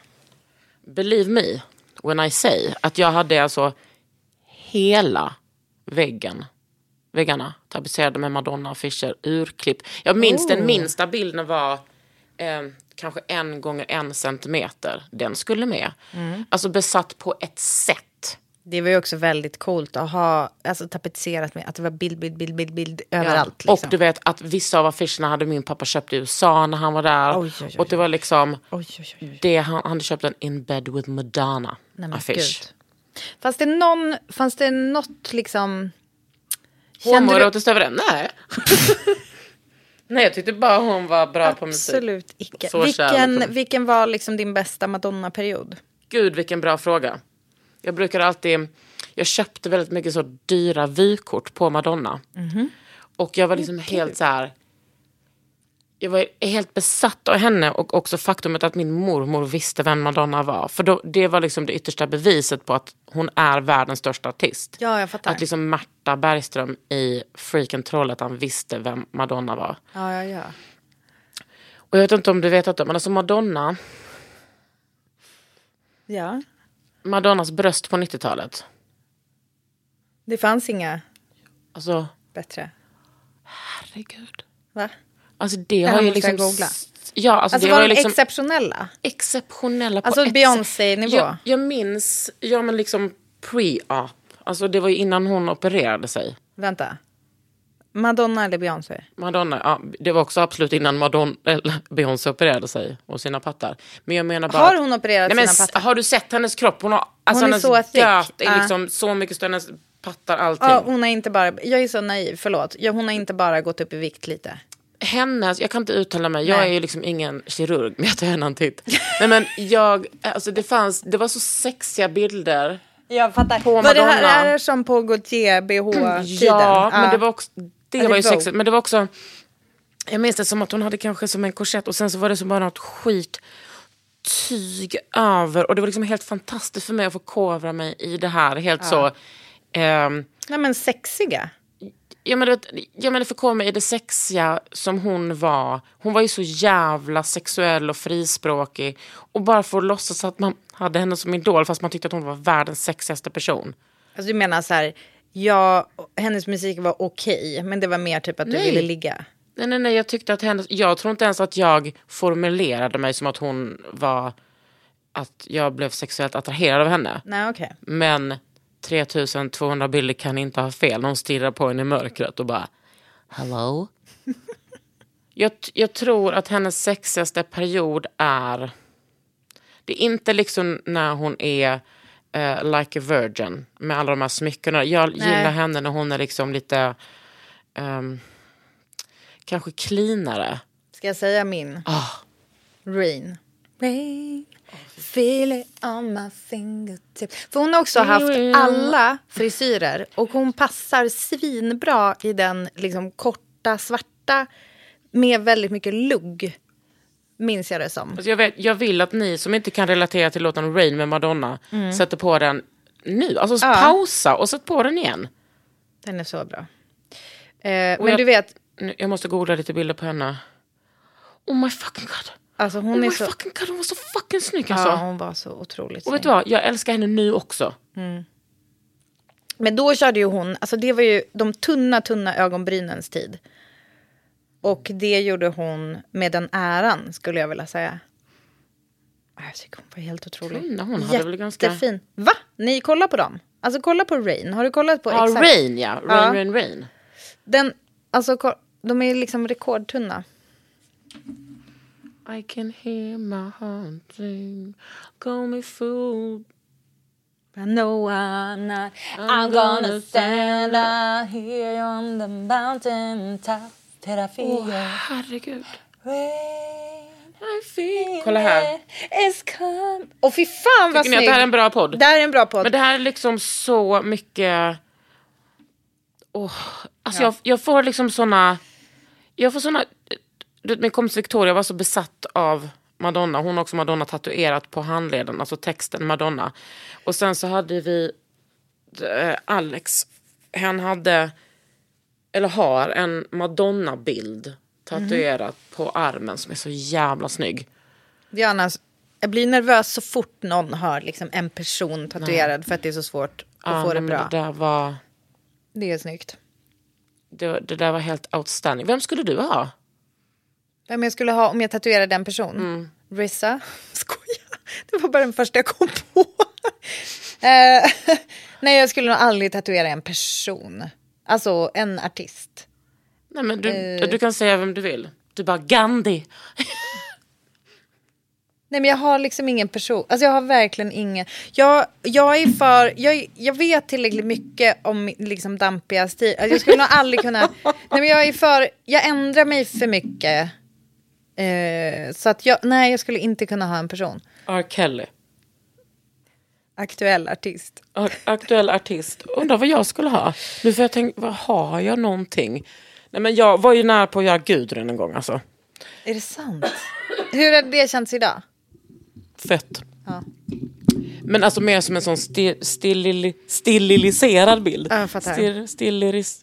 Believe me when I say att jag hade alltså hela väggen, väggarna tapetserade med Madonna och Fischer, urklipp. Jag minns
Oh.
den minsta bilden var eh, kanske en gånger en centimeter. Den skulle med.
Mm.
Alltså besatt på ett sätt.
Det var ju också väldigt coolt att ha alltså, tapetserat med att det var bild, bild, bild, bild, bild överallt. Liksom.
Och du vet att vissa av affischerna hade min pappa köpt i USA när han var där.
Oj, oj, oj,
Och det var liksom,
Oj, oj, oj.
det, han han hade köpt en In Bed With Madonna
Nej, men
affisch.
gud. Fanns det, någon, fanns det något liksom... Kände du-
Homoerotiskt över den? Nej. Nej, jag tyckte bara hon var bra på musik.
Absolut icke.
Så
Vilken,
kärleken.
vilken var liksom din bästa Madonna-period?
Gud, vilken bra fråga. Jag brukar alltid... Jag köpte väldigt mycket så dyra vykort på Madonna.
Mhm.
Och jag var liksom helt så här... Jag var helt besatt av henne och också faktumet att min mormor visste vem Madonna var. För då, det var liksom det yttersta beviset på att hon är världens största artist.
Ja, jag fattar.
Att liksom Marta Bergström i Freaken Trollhättan visste vem Madonna var.
Ja, ja, ja.
Och jag vet inte om du vet att men alltså Madonna,
ja.
Madonnas bröst på 90-talet.
Det fanns inga
Alltså,
bättre.
herregud.
Va?
Alltså det
här
har ju
måste jag
liksom...
googla.
s- Ja, alltså,
Alltså
det
var de
var ju liksom
exceptionella?
exceptionella på
Alltså
ett sätt.
Beyoncé-nivå?
Jag, jag minns, ja men liksom pre-op. Alltså det var ju innan hon opererade sig.
Vänta. Madonna eller Beyoncé?
Typ. Madonna, ja, det var också absolut innan Madonna, eller Beyoncé opererade sig och sina pattar. Men jag menar bara...
Har
att-
hon opererat
nej, men,
sina
s-
pattar?
Har du sett hennes kropp? Hon har, alltså,
Hon är
hennes
så thick.
göt
Ja.
är liksom så mycket större än hennes pattar, allting.
Ja, hon har inte bara... Jag är så naiv, förlåt. Ja, hon har inte bara gått upp i vikt lite.
hennes, alltså, jag kan inte uttala mig, jag
Nej.
är ju liksom ingen kirurg, men jag tar gärna en titt. Nej men jag, alltså det fanns, det var så sexiga bilder.
Jag fattar.
På
Var det här
Madonna.
är det som på Gaultier-bh-tiden?
Ja, men det var också, det
Ja,
var
Vogue.
ju sexigt, men det var också, jag minns det som att hon hade kanske som en korsett och sen så var det som bara något skit tyg över och det var liksom helt fantastiskt för mig att få kovra mig i det här, helt så. ehm,
Nej, men sexiga.
Jag menar, jag menar för mig i det sexiga som hon var. Hon var ju så jävla sexuell och frispråkig. Och bara för att låtsas att man hade henne som idol fast man tyckte att hon var världens sexigaste person.
Alltså du menar så här, ja, hennes musik var okej, men det var mer typ att du
Nej.
ville ligga.
Nej, nej, nej, jag tyckte att hennes... Jag tror inte ens att jag formulerade mig som att hon var... Att jag blev sexuellt attraherad av henne.
Nej, okej.
Men 3200 bilder kan inte ha fel. Någon stirrar på henne i mörkret och bara hello. jag, jag tror att hennes sexigaste period är... Det är inte liksom när hon är eh, like a virgin med alla de här smyckena. Jag gillar henne när hon är liksom lite... ehm, kanske cleanare.
Ska jag säga min?
Ah.
Rain. Rain. Feel it on my fingertip. För hon har också haft alla frisyrer och hon passar svinbra i den liksom korta svarta med väldigt mycket lugg, minns jag det som.
Alltså jag, vet, jag vill att ni som inte kan relatera till låten Rain med Madonna sätter på den nu. Alltså
Mm. Ja.
pausa och sätt på den igen.
Den är så bra. Eh, men
jag-
du vet,
Nu, jag måste googla lite bilder på henne. Oh my fucking god.
alltså
oh
hon
my
är så...
fucking god, hon var så fucking snygg alltså.
Ja, hon var så otroligt
och vet
snygg.
du vad, jag älskar henne nu också.
Men då körde ju hon, alltså det var ju de tunna, tunna ögonbrynens tid. Och det gjorde hon med den äran, skulle jag vilja säga. Ah, Jag tycker hon var helt otrolig.
Tunna, hon hade väl ganska-
Jättefin. Va? Ni kollar på dem? Alltså kolla på Rain. Har du kollat på
Ja,
exakt?
Rain ja. Rain,
Ja.
rain, rain.
Den, alltså ko- de är liksom rekordtunna.
I can hear my heart sing. Call me fool.
I know I'm not. I'm gonna stand out here on the mountain top till I feel
Åh, herregud.
rain.
I feel. Kolla här.
It's come. Och fy fan vad
Tycker ni att det här är en bra podd?
Det här är en bra podd.
Men det här är liksom så mycket... Åh, alltså jag, jag får liksom såna... Jag får såna... Du vet, Min kompis Victoria var så besatt av Madonna. Hon har också Madonna tatuerat på handleden, alltså texten Madonna. Och sen så hade vi eh, Alex. Han hade, eller har, en Madonna-bild tatuerad
Mhm.
på armen som är så jävla snygg.
Diana, jag blir nervös så fort någon har liksom en person tatuerad för att det är så svårt att
Ja,
få det
nej, men
bra.
Det där var...
Det är snyggt.
Det, var- det där var helt outstanding. Vem skulle du ha?
Vem jag skulle ha om jag tatuerade en person?
Mm.
Rissa? Skoja. Det var bara den första jag kom på. eh, nej, jag skulle nog aldrig tatuera en person. Alltså en artist. Eh.
Nej, men du, du kan säga vem du vill. Du bara Gandhi.
Nej men jag har liksom ingen person, alltså jag har verkligen ingen. Jag, jag är för, jag, jag vet tillräckligt mycket om min- liksom dampiga stil. Alltså jag skulle nog aldrig kunna, nej men jag är för, jag ändrar mig för mycket. Eh, så att jag, nej jag skulle inte kunna ha en person.
R. Kelly.
Aktuell artist.
A- Aktuell artist. Undrar vad jag skulle ha. Nu får jag tänka, vad har jag någonting? Nej, men jag var ju nära på att göra Gudrun en gång alltså.
Är det sant? Hur hade det känts idag?
Fett.
Ja.
Men alltså mer som en sån sti- stillili- stilliliserad bild.
Ja, jag fattar.
Stil- stilliris-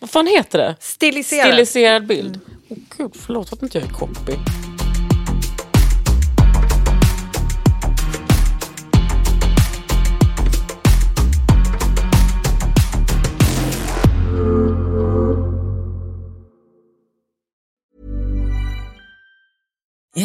vad fan heter det?
Stiliserad. Mm.
Stiliserad bild. Åh gud, förlåt att inte jag är copy.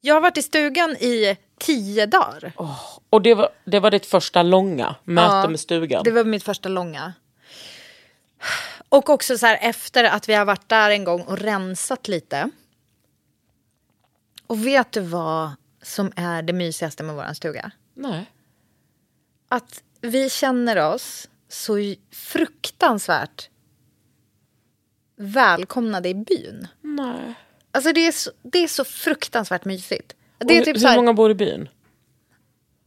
Jag har varit i stugan i tio dagar.
Och det var, det var ditt första långa möte
Ja,
med stugan.
Det var mitt första långa. Och också så här efter att vi har varit där en gång och rensat lite. Och vet du vad som är det mysigaste med våran stuga?
Nej.
Att vi känner oss så j- fruktansvärt välkomnade i byn.
Nej.
Alltså det är så, det är så fruktansvärt mysigt.
Det
Det, är typ
hur
så här,
många bor i byn?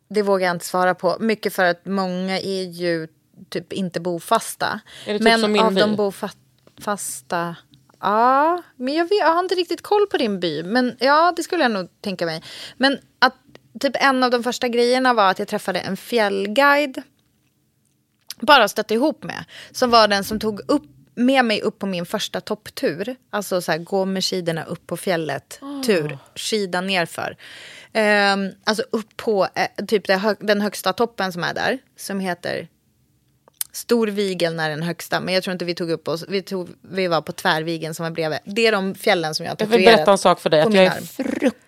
det vågar jag inte svara på. Mycket för att många är ju typ inte bofasta.
Är det typ
men
som min
av de
by?
bofasta... Ja, men jag, vet, jag har inte riktigt koll på din by. Men ja, det skulle jag nog tänka mig. Men att typ en av de första grejerna var att jag träffade en fjällguide. Bara stötte ihop med. Som var den som tog upp med mig upp på min första topptur. Alltså så här, gå med skidorna upp på fjället.
Ah.
Tur. Skida nerför. Ehm, alltså upp på eh, typ det, hö- den högsta toppen som är där. Som heter Stor Vigel är den högsta, men jag tror inte vi tog upp oss. Vi, tog, vi var på Tvärvigeln som var bredvid. Det är de fjällen som jag har
Jag vill
tatuerat
berätta en sak för dig.
på
Att
min
jag är
arm.
fruktansvärt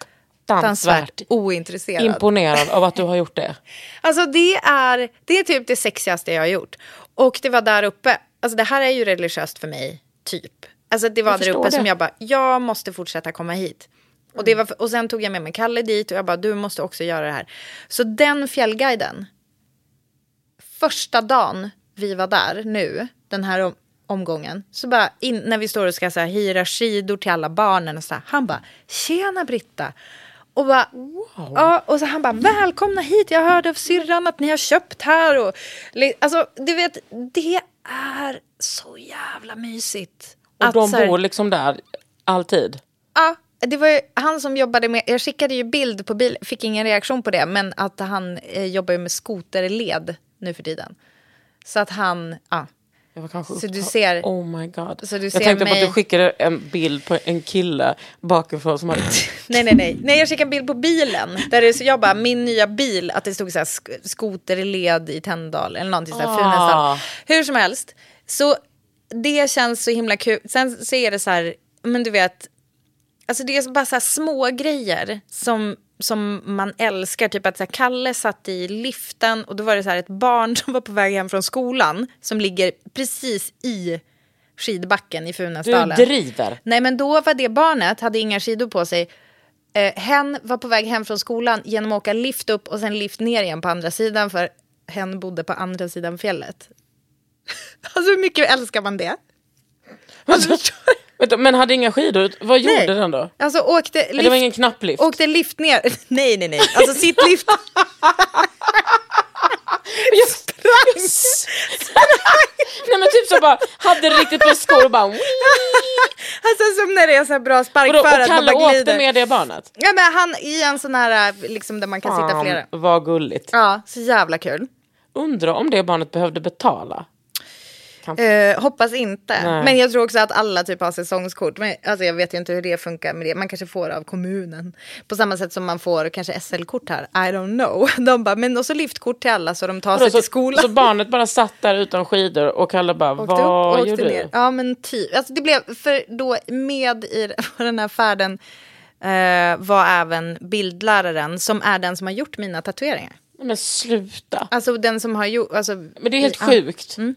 Fruktansvärt ointresserad.
imponerad av att du har gjort det.
Alltså det är, det är typ det sexigaste jag har gjort. Och det var där uppe, alltså det här är ju religiöst för mig, typ. Alltså det var
Jag
där uppe som
förstår det. Mm.
jag bara, jag måste fortsätta komma hit. Och, det var, och sen tog jag med mig Kalle dit och jag bara, du måste också göra det här. Så den fjällguiden, första dagen vi var där nu, den här om- omgången, så bara in, när vi står och ska så här, hyra skidor till alla barnen och så här, han bara, tjena Britta. Och, bara, ja, och så han bara, välkomna hit, jag hörde av syrran att ni har köpt här. Och, li- alltså, du vet, det är så jävla mysigt.
Och
Att
de
så här-
bor liksom där alltid.
Ja, det var ju han som jobbade med, jag skickade ju bild på bil, fick ingen reaktion på det, men att han eh, jobbar ju med skoterled nu för tiden. Så att han, ja.
Jag var kanske
Så du
upptagen.
ser-
oh my god.
så du
jag
ser
tänkte på att
mig-
du skickade en bild på en kille bakifrån som hade...
Nej, nej, nej. Nej, jag skickade en bild på bilen. Där det, så jag bara, min nya bil, att det stod så här sk- skoterled i Tändal eller någonting så här, Funäsdal. Hur som helst, så det känns så himla kul. Sen så är det så här, men du vet, Alltså det är som bara så här små grejer som, som man älskar. Typ att så här Kalle satt i liften och då var det så här ett barn som var på väg hem från skolan som ligger precis i skidbacken i Funäsdalen.
Du driver.
Nej men då var det barnet, hade inga skidor på sig. Eh, hen var på väg hem från skolan genom att åka lift upp och sen lift ner igen på andra sidan för hen bodde på andra sidan fjället. alltså hur mycket älskar man det? Alltså,
Vänta, Men hade inga skidor? Vad gjorde
Nej.
den då?
Alltså åkte lift,
Men det var ingen knapplift?
åkte lift ner. Nej, nej, nej. Alltså sitt lift.
Jag sprang! Nej men typ så bara, hade riktigt på skor och bara...
Alltså som när det är så här bra
Vadå,
sparkföre.
och
att man
Kalle
bara
åkte
glider.
med det barnet?
Ja, men han i en sån här liksom där man kan sitta
Fan,
flera.
vad gulligt.
Ja, så jävla kul.
Undrar om det barnet behövde betala. Kan-
Eh, hoppas inte.
Nej.
Men jag tror också att alla typ har säsongskort. Men, alltså, jag vet ju inte hur det funkar med det. Man kanske får av kommunen. På samma sätt som man får kanske SL-kort här. I don't know. De bara, men och så liftkort till alla så de tar sig
Vadå,
Alltså, till
så,
skolan.
Alltså, så barnet bara satt där utan skidor och Kalle bara,
Åkte
vad
upp och
gör
åkte
du?
ner. Ja, men typ. Alltså, det blev, för då med i den här färden eh, var även bildläraren som är den som har gjort mina tatueringar.
Nej, Men sluta.
Alltså den som har gjort... Alltså, men
det är helt sjukt.
Mm.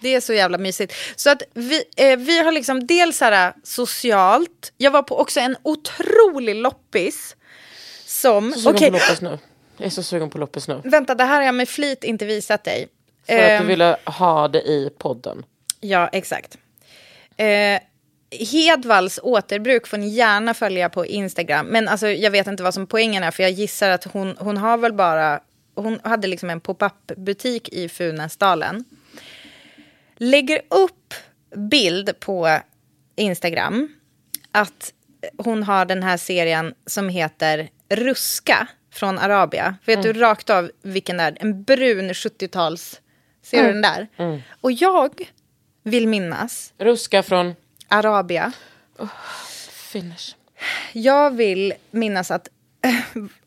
Det är så jävla mysigt. Så att vi, eh, vi har liksom dels så här socialt, jag var på också en otrolig loppis som...
Jag är så sugen
Okej,
på loppis nu. Jag är så sugen på loppis nu.
vänta det här har jag med flit inte visat dig.
För att
Ehm,
du ville ha det i podden.
Ja, exakt. Eh, Hedvalls återbruk får ni gärna följa på Instagram. Men alltså, jag vet inte vad som poängen är, för jag gissar att hon, hon har väl bara... Hon hade liksom en pop-up-butik i Funäsdalen. Lägger upp bild på Instagram att hon har den här serien som heter Ruska från Arabia. Vet du rakt av vilken det är? En brun 70-tals... Ser du den där? Och jag vill minnas
Ruska från
Arabia.
finish.
Jag vill minnas att...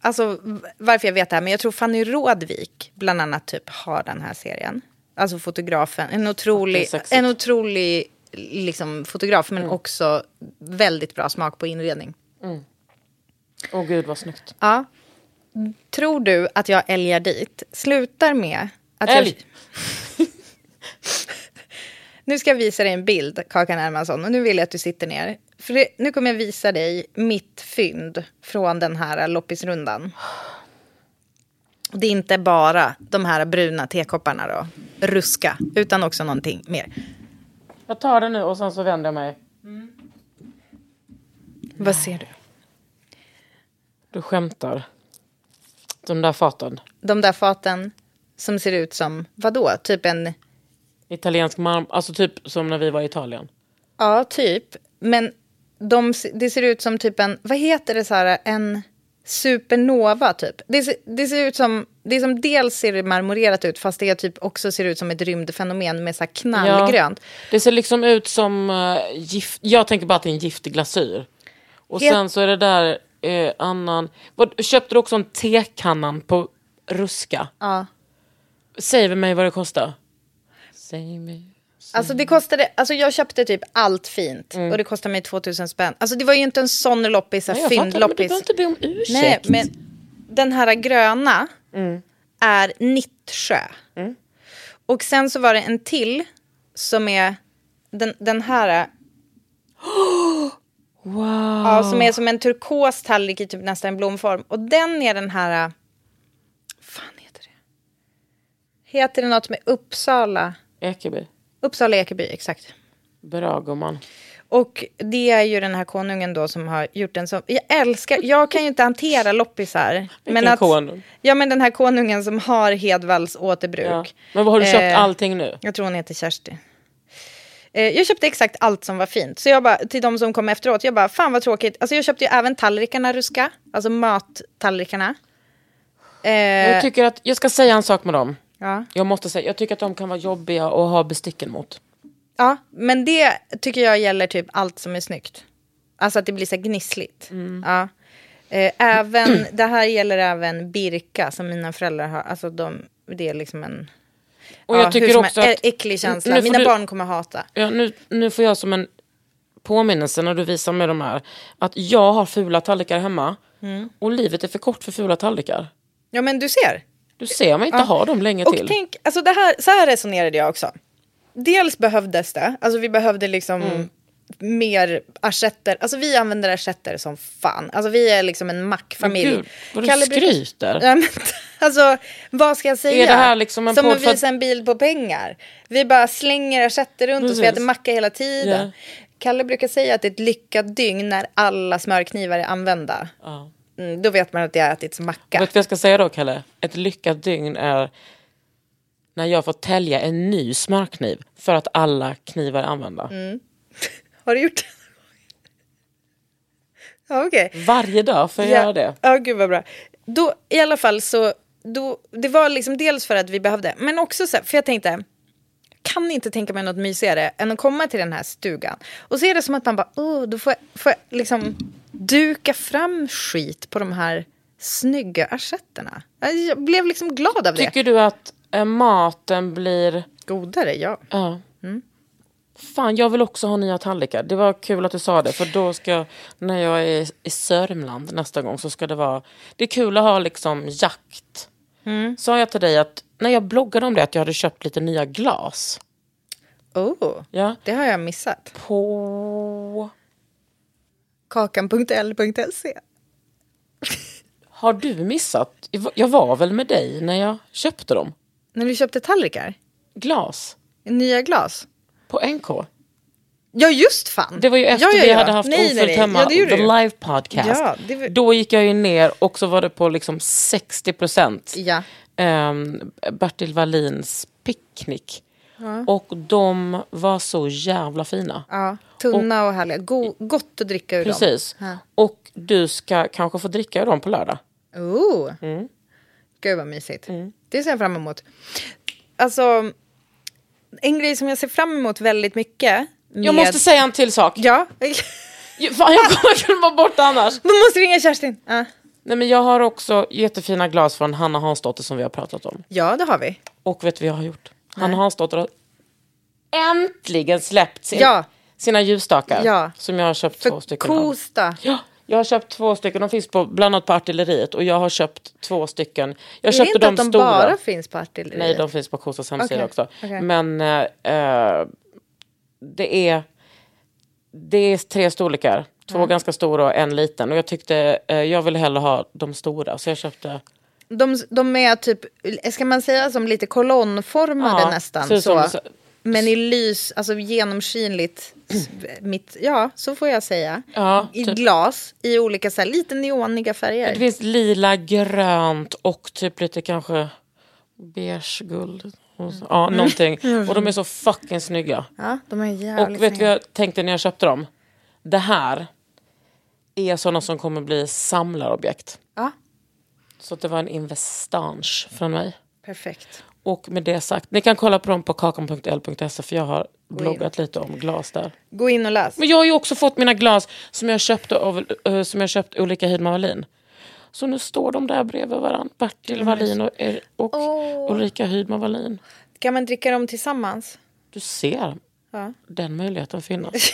Alltså, varför jag vet det här, men jag tror Fanny Rådvik bland annat typ har den här serien. Alltså fotografen. En
Det är
otrolig,
sexigt. Mm.
en otrolig liksom, fotograf, men också väldigt bra smak på inredning.
Åh gud vad snyggt.
Ja. Tror du att jag älgar dit? Slutar med att jag...
Älg.
nu ska jag visa dig en bild, Kakan Hermansson, och nu vill jag att du sitter ner. För det, nu kommer jag visa dig mitt fynd från den här loppisrundan. Och Det är inte bara de här bruna tekopparna då, ruska, utan också någonting mer.
Jag tar den nu och sen så vänder jag mig.
Vad ser du?
Du skämtar. De där faten.
De där faten som ser ut som, vadå, typ en
Italiensk marm, alltså typ som när vi var i Italien.
Ja, typ. Men de, det ser ut som typ en... Vad heter det? så här, En supernova, typ. Det, ser- det ser ut som... Det är som dels ser det marmorerat ut, fast det typ också ser ut som ett rymdfenomen med så här knallgrönt.
Det ser liksom ut som eh, gift, jag tänker bara att det är en giftig glasyr. Och
Helt-
sen så är det där eh, annan, vad, köpte du också en tekannan på Ruska?
Ja.
Säg mig vad det kostar. Säg mig.
Alltså, det kostade, alltså jag köpte typ allt fint och det kostade mig 2000 spänn. Alltså det var ju inte en sån loppis, så
Mm. Nej,
här
jag fattar, men du
fyndloppis.
behöver inte be om
Nej,
ursäkt.
men den här gröna är Nittsjö. Och sen så var det en till som är den, den här.
Wow.
Ja, som är som en turkos tallrik i typ nästan en blomform. Och den är den här... Vad fan heter det? Heter det något med Uppsala?
Ekeby.
Uppsala Ekeby, exakt.
Bra gumman.
Och det är ju den här konungen då som har gjort en sån... Jag älskar... Jag kan ju inte hantera loppisar.
Vilken
att-
konung.
Ja, men den här konungen som har Hedvalls återbruk.
Ja. Men vad har du köpt
Eh,
allting nu?
Jag tror hon heter Kersti. Eh, Jag köpte exakt allt som var fint. Så jag bara, till de som kom efteråt, jag bara, fan vad tråkigt. Alltså jag köpte ju även tallrikarna ruska, alltså mattallrikarna. Eh,
Jag tycker att, jag ska säga en sak med dem.
ja.
Jag måste säga, jag tycker att de kan vara jobbiga att ha besticken mot.
ja, men det tycker jag gäller typ allt som är snyggt. Alltså att det blir så här gnissligt.
Mm.
Ja. Eh, Även, det här gäller även Birka som mina föräldrar har. Alltså de, det är liksom en
Och
ja,
jag tycker
hur som
också
är,
att-
äcklig känsla.
Nu får
Mina
du-
barn kommer hata.
Ja, nu, nu får jag som en påminnelsen när du visar mig de här. Att jag har fula tallrikar hemma.
Mm.
Och livet är för kort för fula tallrikar.
Ja, men du ser.
Du ser man inte
Ja.
har dem länge
och
till.
Tänk, alltså det här, så här resonerade jag också. Dels behövdes det, alltså vi behövde liksom
Mm.
mer assietter. Alltså vi använder assietter som fan. Alltså vi är liksom en mackfamilj.
Men gud, vad du
brukar-
skryter.
Ja, men, alltså vad ska jag säga?
Är det här liksom en
som
podd
att
för att-
visa en bil på pengar. Vi bara slänger assietter runt oss, vi
Precis.
äter macka hela tiden.
Ja.
Kalle brukar säga att det är ett lyckat dygn när alla smörknivar är använda.
Ja.
Mm, då vet man att det har ätits macka.
Vet du vad jag ska säga då, Kalle? Ett lyckat dygn är när jag får tälja en ny smörkniv för att alla knivar är använda.
Mm. Har du gjort det? Ja, okej.
Varje dag får jag
Ja.
göra det.
Ja, gud vad bra. Då, I alla fall så, då, det var liksom dels för att vi behövde, men också så här, för jag tänkte, kan inte tänka mig något mysigare än att komma till den här stugan. Och så är det som att man bara, oh, då får jag, får jag liksom duka fram skit på de här snygga assietterna. Jag- Jag blev liksom glad av det.
Tycker du att eh, maten blir...
Godare, ja.
Ja.
Mm.
Fan, jag vill också ha nya tallrikar. Det var kul att du sa det. För då ska jag, när jag är i Sörmland nästa gång så ska det vara... Det är kul att ha liksom jakt.
Mm.
Sa jag till dig att när jag bloggade om det att jag hade köpt lite nya glas.
Oh,
ja.
det har jag missat.
På...
Kakan.l.se.
Har du missat? Jag var väl med dig när jag köpte dem?
När du köpte tallrikar?
Glas.
Nya glas?
På NK.
Ja, just fan.
Det var ju efter
ja, ja,
vi
ja.
hade haft
Nej, nej,
Ofullt
nej.
hemma,
Ja, det gjorde
the
du.
live podcast.
Ja, det var-
Då gick jag ju ner och så var det på liksom 60 procent
Ja.
Ehm, Bertil Wallins picknick.
Ja.
Och de var så jävla fina.
Ja, tunna och, härliga. Go- gott att dricka ur
Precis.
dem.
Och du ska kanske få dricka ur dem på lördag.
Ja. Oh.
Mm.
Gud vad mysigt. Det ser jag fram emot. Alltså, en grej som jag ser fram emot väldigt mycket.
Jag måste säga en till sak.
Ja.
Fan, jag kommer glömma bort det annars.
Du måste ringa Kerstin. Ja.
Nej, men jag har också jättefina glas från Hanna Hansdotter som vi har pratat om.
ja, det har vi.
Och vet du vad jag har gjort?
Nej.
Hanna Hansdotter har äntligen släppt sin,
Ja.
sina ljusstakar.
Ja.
Som jag har köpt två stycken av.
Kosta.
Ja, jag har köpt två stycken. De finns på, bland annat på Artilleriet. Och jag har köpt två stycken. Jag
är det
köpte
inte
de
att de
stora.
bara finns på artilleriet?
Nej, de finns på Kosas hemsida
Okej,
också.
okej.
Men eh, eh, det, är, det är tre storlekar. Två
Mm.
ganska stora och en liten. Och jag tyckte eh, jag ville hellre ha de stora. Så jag köpte...
De, de är typ, ska man säga som lite kolonnformade
Ja,
nästan.
ser
Så,
ut som- så-
Men i lys, alltså genomskinligt. s- mitt, ja, så får jag säga.
Ja,
I
typ.
glas, i olika så här, lite neoniga färger.
Det finns lila, grönt och typ lite kanske beige guld. Och så- Ja,
Mm.
någonting.
Mm.
Och de är så fucking snygga.
Ja, de är jävligt
Och vet du
snygga.
vad jag tänkte när jag köpte dem? Det här är sådana som kommer bli samlarobjekt.
Ja.
Så att det var en investange från mig.
Perfekt.
Och med det sagt, ni kan kolla på dem på kakan.l.se E, för jag har
in.
bloggat lite om glas där.
Gå in och läs.
Men jag har ju också fått mina glas som jag köpte av eh, som jag köpt Ulrika Hiedman Wallin. Så nu står de där bredvid varandra,
Mm.
Bertil Wallin och, er- och Ulrika Hiedman Wallin.
Kan man dricka dem tillsammans?
Du ser,
Ja.
den möjligheten finns.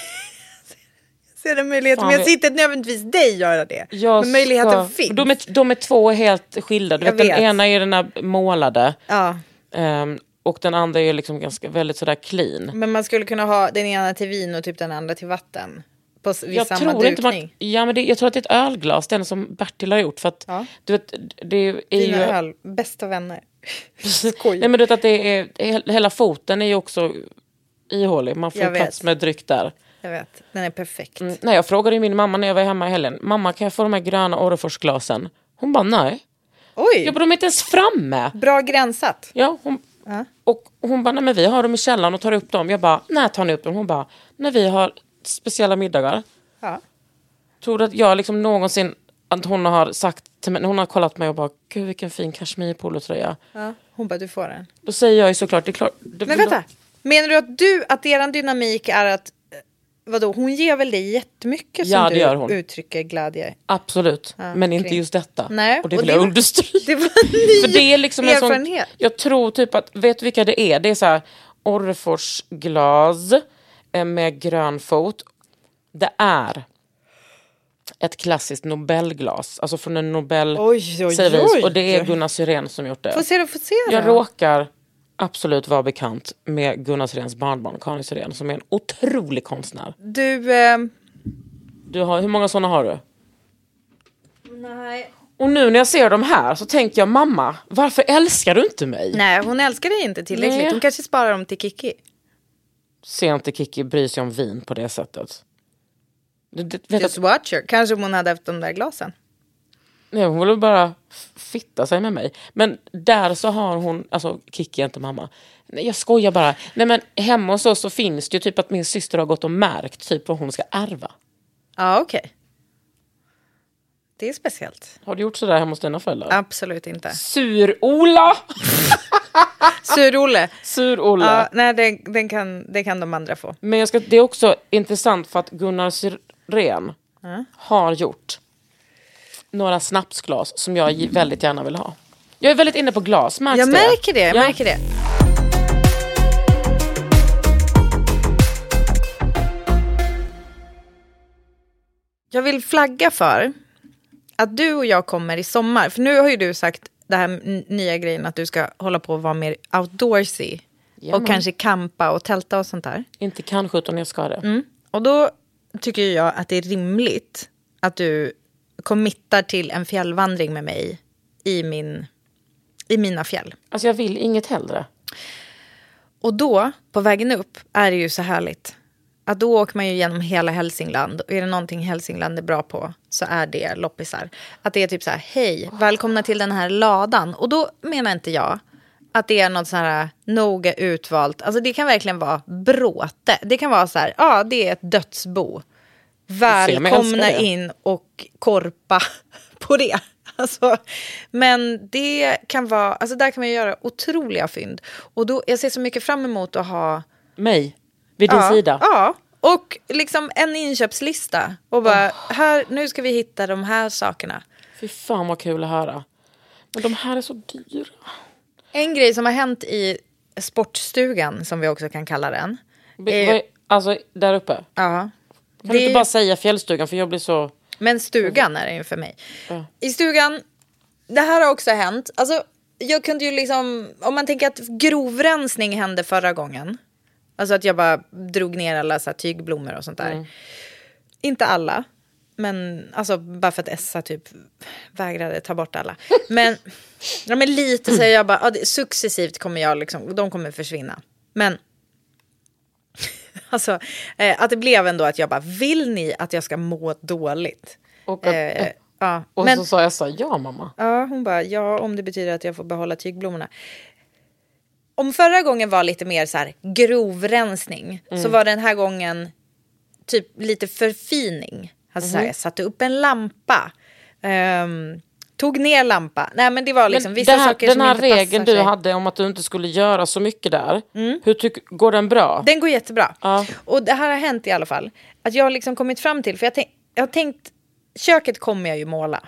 Ser den möjligheten?
Fan,
Men jag
vi-
ser inte nödvändigtvis dig göra det.
Jag
men möjligheten
ska-
finns.
De är, de är två helt skilda. Du
Jag
vet, den
vet.
ena är den här målade
Ja.
ehm, och den andra är liksom ganska, väldigt sådär clean.
Men man skulle kunna ha den ena till vin och typ den andra till vatten. På, s- vid
jag
samma
tror
dukning.
inte man, ja, men det, Jag tror att det är ett ölglas, den som Bertil har gjort. För att, du vet, det är ju...
Dina öl, bästa vänner.
Nej, men du vet att det är, he- hela foten är ju också ihålig. Man får
Jag vet.
plats med dryck där.
Jag vet, den är perfekt.
Mm, Nej, jag frågade ju min mamma när jag var hemma i helgen. Mamma, kan jag få de här gröna Orreforsglasen? Hon bara nej.
Oj!
Jag bara, de är inte ens framme.
Bra gränsat.
Ja, hon, Och hon bara, nej men vi har dem i källaren och tar upp dem. Jag bara, när tar ni upp dem? Hon bara, när vi har speciella middagar.
Ja.
Tror du att jag liksom någonsin, att hon har sagt till mig, hon har kollat mig och bara, gud vilken fin kashmirpolotröja.
Ja. Hon bara, du får den.
Då säger jag ju såklart, det är klart. det-
Men vänta, menar du att du, att eran dynamik är att, eh, vadå, hon ger väl dig jättemycket
Ja,
som
det
du
gör hon.
uttrycker glädje?
Absolut,
Ja,
men inte
kring.
just detta.
Nej,
Och det
och
vill
det
jag
var-
understryka.
Det var en
För
ny
det är liksom en sån,
erfarenhet.
jag tror typ att, vet du vilka det är? Det är så här Orreforsglas eh, med grön fot Det är ett klassiskt Nobelglas, alltså från en Nobel
Oj, oj,
servis.
oj.
Och det är Gunnar Syrén som gjort det.
Få se det, få se det.
Jag råkar absolut vara bekant med Gunnar Syréns barnbarn Karin Syrén som är en otrolig konstnär.
Du... ehm,
Du har, hur många såna har du?
Nej.
Och nu när jag ser dem här så tänker jag mamma, varför älskar du inte mig?
Nej, hon älskar dig inte tillräckligt.
Nej.
Hon kanske sparar dem till Kiki.
Ser inte Kiki bryr sig om vin på det sättet. Det, det, vet
Just
att,
watch her. Kanske om hon hade haft de där glasen.
nej, hon vill bara f- fitta sig med mig. Men där så har hon, alltså Kiki är inte mamma. Nej, jag skojar bara. Nej men hemma hos oss så finns det ju typ att min syster har gått och märkt typ vad hon ska ärva.
Ja, okej. Det är speciellt.
Har du gjort sådär hemma hos dina föräldrar?
Absolut inte.
Sur-Ola!
Sur-Olle.
Sur-Olle.
Ja, nej, den, den kan, det kan de andra få.
Men jag ska, det är också intressant för att Gunnar Syrén
Ja.
har gjort några snapsglas som jag gi- väldigt gärna vill ha. Jag är väldigt inne på glas, märks
Jag
det?
märker det, jag
Ja.
märker det. Jag vill flagga för att du och jag kommer i sommar. För nu har ju du sagt det här n- nya grejen att du ska hålla på och vara mer outdoorsy.
Jajamän.
Och kanske kampa och tälta och sånt där.
Inte kanske, utan jag ska det.
Mm. Och då tycker jag att det är rimligt att du committar till en fjällvandring med mig i, min, i mina fjäll.
Alltså jag vill inget hellre.
Och då, på vägen upp, är det ju så härligt. Att då åker man ju genom hela Hälsingland. Och är det någonting Hälsingland är bra på så är det loppisar. Att det är typ så här, hej, välkomna till den här ladan. Och då menar inte jag att det är något så här noga utvalt. Alltså det kan verkligen vara bråte. Det kan vara så här, ja, det är ett dödsbo.
ser, men jag älskar
Välkomna
det.
in och korpa på det. Alltså, men det kan vara, alltså där kan man ju göra otroliga fynd. Och då, jag ser så mycket fram emot att ha...
Mig, vid din
ja,
sida.
Ja, och liksom en inköpslista. Och bara, här, nu ska vi hitta de här sakerna.
Fy fan vad kul att höra. Men de här är så dyra.
En grej som har hänt i sportstugan, som vi också kan kalla den.
Be-
är-
vad är- Alltså, där uppe. Kan
Ja.
du
Eh. Det-
inte bara säga fjällstugan för jag blir så...
Men stugan är det ju för mig. I stugan, det här har också hänt. Alltså, jag kunde ju liksom, om man tänker att grovrensning hände förra gången. Alltså att jag bara drog ner alla så här tygblommor och sånt där.
Mm.
Inte alla, men alltså bara för att Essa typ vägrade ta bort alla. Men, ja, men lite så här, jag bara, ja, det, successivt kommer jag liksom, de kommer försvinna. Men alltså, eh, att det blev ändå att jag bara, vill ni att jag ska må dåligt?
Och, att-
Eh, ja.
och
men,
så sa jag så här, ja mamma.
Ja, hon bara, ja om det betyder att jag får behålla tygblommorna. Om förra gången var lite mer så här grovrensning så
Mm.
var den här gången typ lite förfining. Alltså så här,
Mhm.
jag satte upp en lampa. ehm, tog ner lampa. Nej men det var liksom vissa
den här,
saker
den
som
här
inte passar
regeln du
sig. Mm.
hade om att du inte skulle göra så mycket där, hur tyck, går den bra?
Den går jättebra.
Ja.
Och det här har hänt i alla fall. Att jag har liksom kommit fram till, för jag, tänk, jag har tänkt, köket kommer jag ju måla.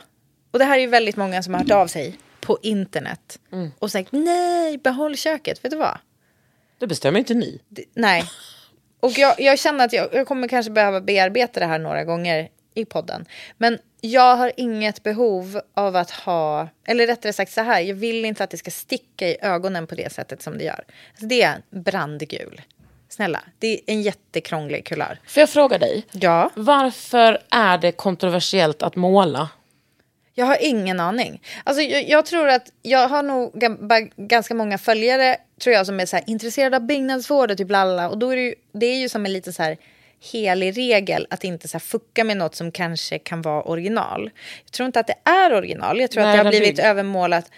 Och det här är ju väldigt många som har hört av sig på internet.
Mm.
Och sagt nej, behåll köket, vet du vad?
Det bestämmer inte ni.
D- nej. Och jag, jag känner att jag, jag kommer kanske behöva bearbeta det här några gånger i podden. Men jag har inget behov av att ha, eller rättare sagt så här, jag vill inte att det ska sticka i ögonen på det sättet som det gör. Alltså det är brandgul. Snälla, det är en jättekrånglig kulör.
Får jag fråga dig?
Ja.
Varför är det kontroversiellt att måla?
Jag har ingen aning. Alltså, jag, jag tror att jag har nog ga- bara ganska många följare tror jag som är så här, intresserade av byggnadsvård och typ lalla. Och då är det, ju, det är ju som en liten så här helig regel att inte så här fucka med något som kanske kan vara original. Jag tror inte att det är original. Jag tror
Nej,
att det har
den
blivit
bygg-
övermålat.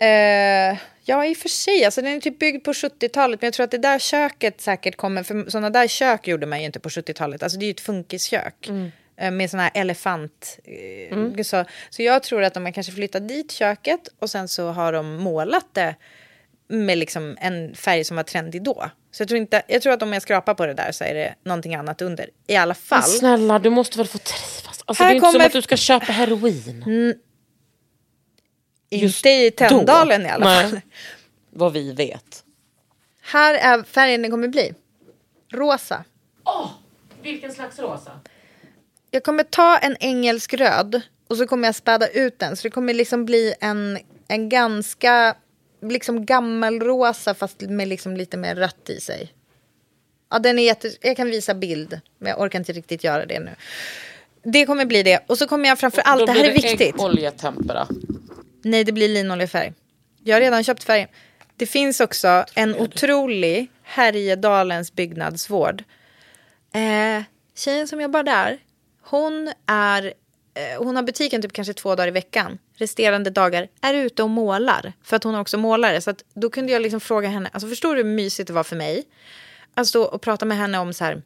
Eh, ja, i och för sig. Alltså, den är typ byggd på 70-talet. Men jag tror att det där köket säkert kommer... För sådana där kök gjorde man ju inte på 70-talet. Alltså, det är ju ett funkiskök. eh, Med såna här elefant... eh,
Mm.
Så, så jag tror att de har kanske flyttat dit köket och sen så har de målat det med liksom en färg som var trendig då. Så jag tror, inte, jag tror att om jag skrapar på det där så är det någonting annat under. I alla
Men
fall.
snälla, du måste väl få trivas? Alltså, det
Här
är ju inte som
kommer-
att du ska köpa heroin.
Mm. Inte i Tänndalen i alla
Nej.
fall.
Vad vi vet.
Här är färgen den kommer bli. Rosa.
Vilken slags rosa?
Jag kommer ta en engelsk röd och så kommer jag späda ut den. Så det kommer liksom bli en, en ganska liksom gammelrosa fast med liksom lite mer rött i sig. Ja, den är jätte... Jag kan visa bild, men jag orkar inte riktigt göra det nu. Det kommer bli det. Och så kommer jag framför allt, det här är viktigt.
Oljetempera.
Nej, det blir linoljefärg. Jag har redan köpt färgen. Det finns också en otrolig Härjedalens byggnadsvård. Eh, tjejen som jobbar där, hon, är, eh, hon har butiken typ kanske två dagar i veckan. Resterande dagar är ute och målar, för att hon är också målare. Så att då kunde jag liksom fråga henne, alltså förstår du hur mysigt det var för mig? Alltså Att stå och prata med henne om så här,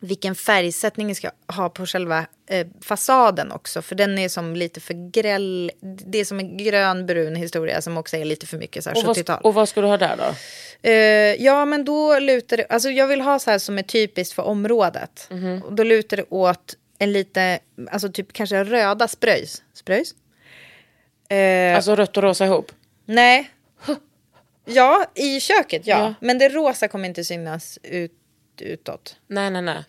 vilken färgsättning jag ska ha på själva eh, fasaden också. För den är som lite för gräll. Det är som en grön-brun historia som också är lite för mycket så här,
Och vad,
70-tal.
och vad ska du ha där då?
Eh, ja, men då lutar det... Alltså jag vill ha så här som är typiskt för området. Och då lutar det åt en lite, alltså typ kanske röda spröjs. Spröjs? Eh,
Alltså rött och rosa ihop?
Nej. Ja, i köket ja. Men det rosa kommer inte synas ut, utåt.
Nej, nej, nej.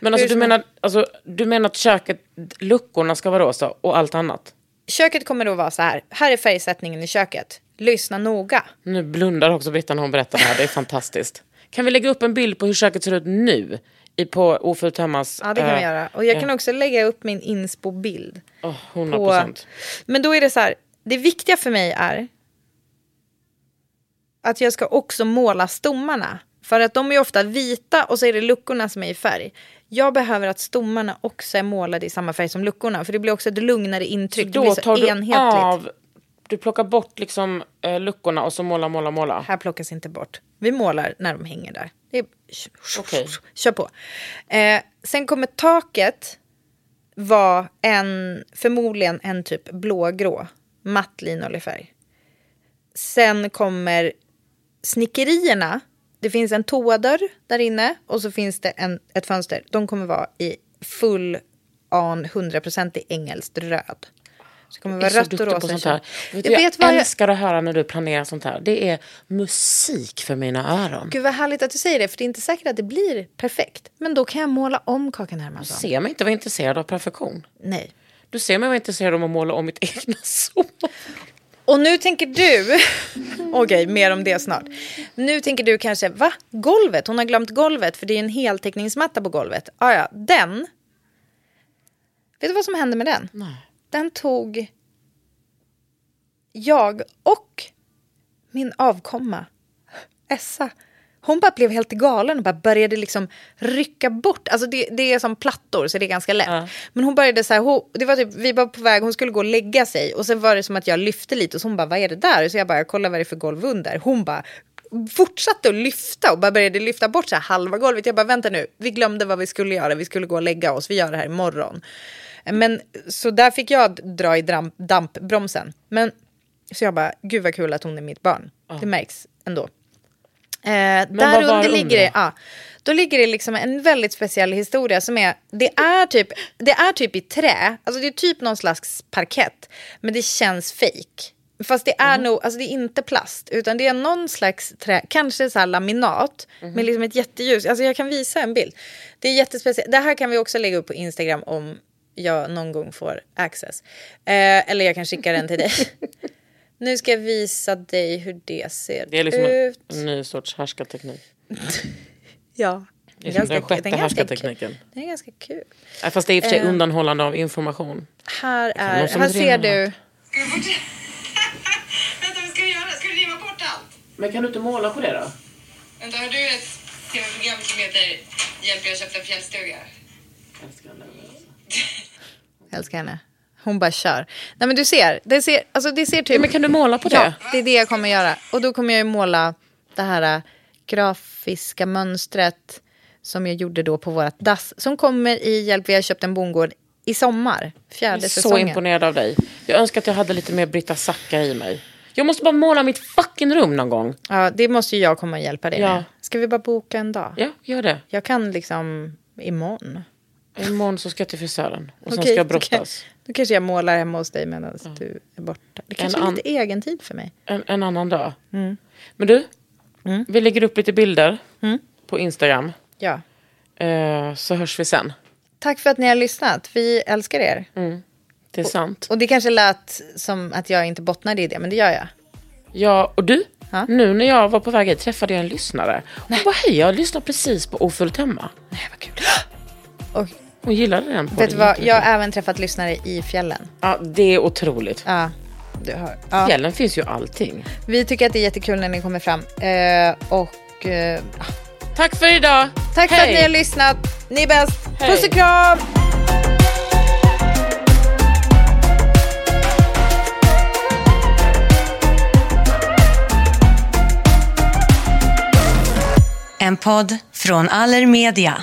Men
Hur
alltså, du,
som-
menar, alltså, du menar att köket, luckorna ska vara rosa och allt annat?
Köket kommer då vara så här. Här är färgsättningen i köket. Lyssna noga.
Nu blundar också Britta när hon berättar det här, det är fantastiskt. Kan vi lägga upp en bild på hur köket ser ut nu? I, på Ofult Hemmas...
Ja, det kan vi
eh,
göra. Och jag kan
eh,
också lägga upp min inspo-bild.
åh, 100%.
Men då är det så här, det viktiga för mig är att jag ska också måla stommarna. För att de är ofta vita och så är det luckorna som är i färg. Jag behöver att stommarna också är målade i samma färg som luckorna. För det blir också ett lugnare intryck. det
Då
blir så
tar du
enhetligt.
av... Du plockar bort liksom eh, luckorna och så måla, måla, måla.
Här plockas inte bort. Vi målar när de hänger där. Det är...
Okej.
Kör på. Eh, sen kommer taket vara en, förmodligen en typ blågrå, matt linoljefärg. Sen kommer snickerierna. Det finns en toadörr där inne och så finns det en, ett fönster. De kommer vara i full on 100% i engelskt röd. Så det kommer
Jag är
vara
så
rött och
duktig på
rosa.
sånt här.
Jag
Vet du, jag
vet vad jag,
älskar att höra när du planerar sånt här. Det är musik för mina öron.
Gud vad härligt att du säger det, för det är inte säkert att det blir perfekt. Men då kan jag måla om Kakan
Du
Hermansson.
ser mig inte vara intresserad av perfektion.
Nej.
Du ser mig vara intresserad av att måla om mitt egna sol.
Och nu tänker du, okej mer om det snart. Nu tänker du kanske, va? Golvet? Hon har glömt golvet för det är en heltäckningsmatta på golvet. Ah, ja, den. Vet du vad som hände med den? Den tog jag och min avkomma, Essa. Hon bara blev helt galen och bara började liksom rycka bort. Alltså det, det är som plattor så det är ganska lätt. Men hon började så här, hon, det var typ, vi var på väg, hon skulle gå och lägga sig. Och sen var det som att jag lyfte lite och så hon bara, vad är det där? Så jag bara, kolla vad det är för golv under. Hon bara fortsatte att lyfta och bara började lyfta bort så här halva golvet. Jag bara, vänta nu, vi glömde vad vi skulle göra, vi skulle gå och lägga oss, vi gör det här imorgon. Men så där fick jag dra i dram- dampbromsen. Men så jag bara, gud vad kul att hon är mitt barn. Det märks ändå. Eh,
vad
där
var
under
under?
ligger det, ja, då ligger det liksom en väldigt speciell historia som är, det är typ, det är typ i trä, alltså det är typ någon slags parkett, men det känns fake. Fast det
Mhm.
är nog, alltså det är inte plast, utan det är någon slags trä, kanske så här laminat,
Mhm.
med liksom ett jätteljus, alltså jag kan visa en bild. Det är jättespeciellt, det här kan vi också lägga upp på Instagram om jag någon gång får access. Eh, eller jag kan skicka den till dig. nu ska jag visa dig hur det ser
Det är liksom
ut.
en, en ny sorts härskarteknik.
Ja.
Det är som
kul.
den sjätte
är ganska
härskartekniken.
kul. Den är ganska kul.
Nej, Äh, Fast det är i och för sig
Eh.
undanhållande av information.
Här, är,
någon som
här ser
driver
du.
Vänta, vad ska vi göra? Ska du riva bort allt?
Men kan du inte måla på det då?
Vänta, har du ett tv-program som heter Hjälp, jag köpte en fjällstuga?
Jag älskar henne. Hon bara kör. Nej men du ser. Det ser, alltså, det ser typ...
Men kan du måla på det?
Ja, det är det jag kommer göra. Och då kommer jag ju måla det här äh, grafiska mönstret som jag gjorde då på vårt dass. Som kommer i Hjälp, vi har köpt en bondgård i sommar.
Jag
Fjärde
är så
säsongen.
imponerad av dig. Jag önskar att jag hade lite mer Britta Sacka i mig. Jag måste bara måla mitt fucking rum någon gång.
Ja, det måste ju jag komma och hjälpa dig
Ja.
med. Ska vi bara boka en dag?
Ja, gör det.
Jag kan liksom imorgon.
Imorgon så ska jag till frisören och sen
Okej,
ska jag
då kan-
brottas. Mm.
Då kanske jag målar hemma hos dig medan du är borta. Det kanske är
an-
lite egen tid för mig.
En, en annan dag.
Mm. Mm.
Men du, vi lägger upp lite bilder på Instagram.
Ja.
Eh, så hörs vi sen.
Tack för att ni har lyssnat. Vi älskar er.
Mm. Det är sant.
Och, och det kanske lät som att jag inte bottnade i det, men det gör jag.
Ja, och du? Nu när jag var på väg hit träffade jag en lyssnare. Hon bara, hej, jag lyssnar precis på Ofullt hemma. Nej,
vad
kul. Hon gillade den.
Vet du
podden
vad,
jättemycket.
jag har även träffat lyssnare i fjällen.
Ja, det är otroligt.
Ja, du hör. Ja.
Fjällen finns ju allting.
Vi tycker att det är jättekul när ni kommer fram. Eh, och... Eh,
Tack för idag.
tack för att
Hej.
ni har lyssnat. Ni är bäst.
Hej.
Puss och kram!
En podd från Allermedia.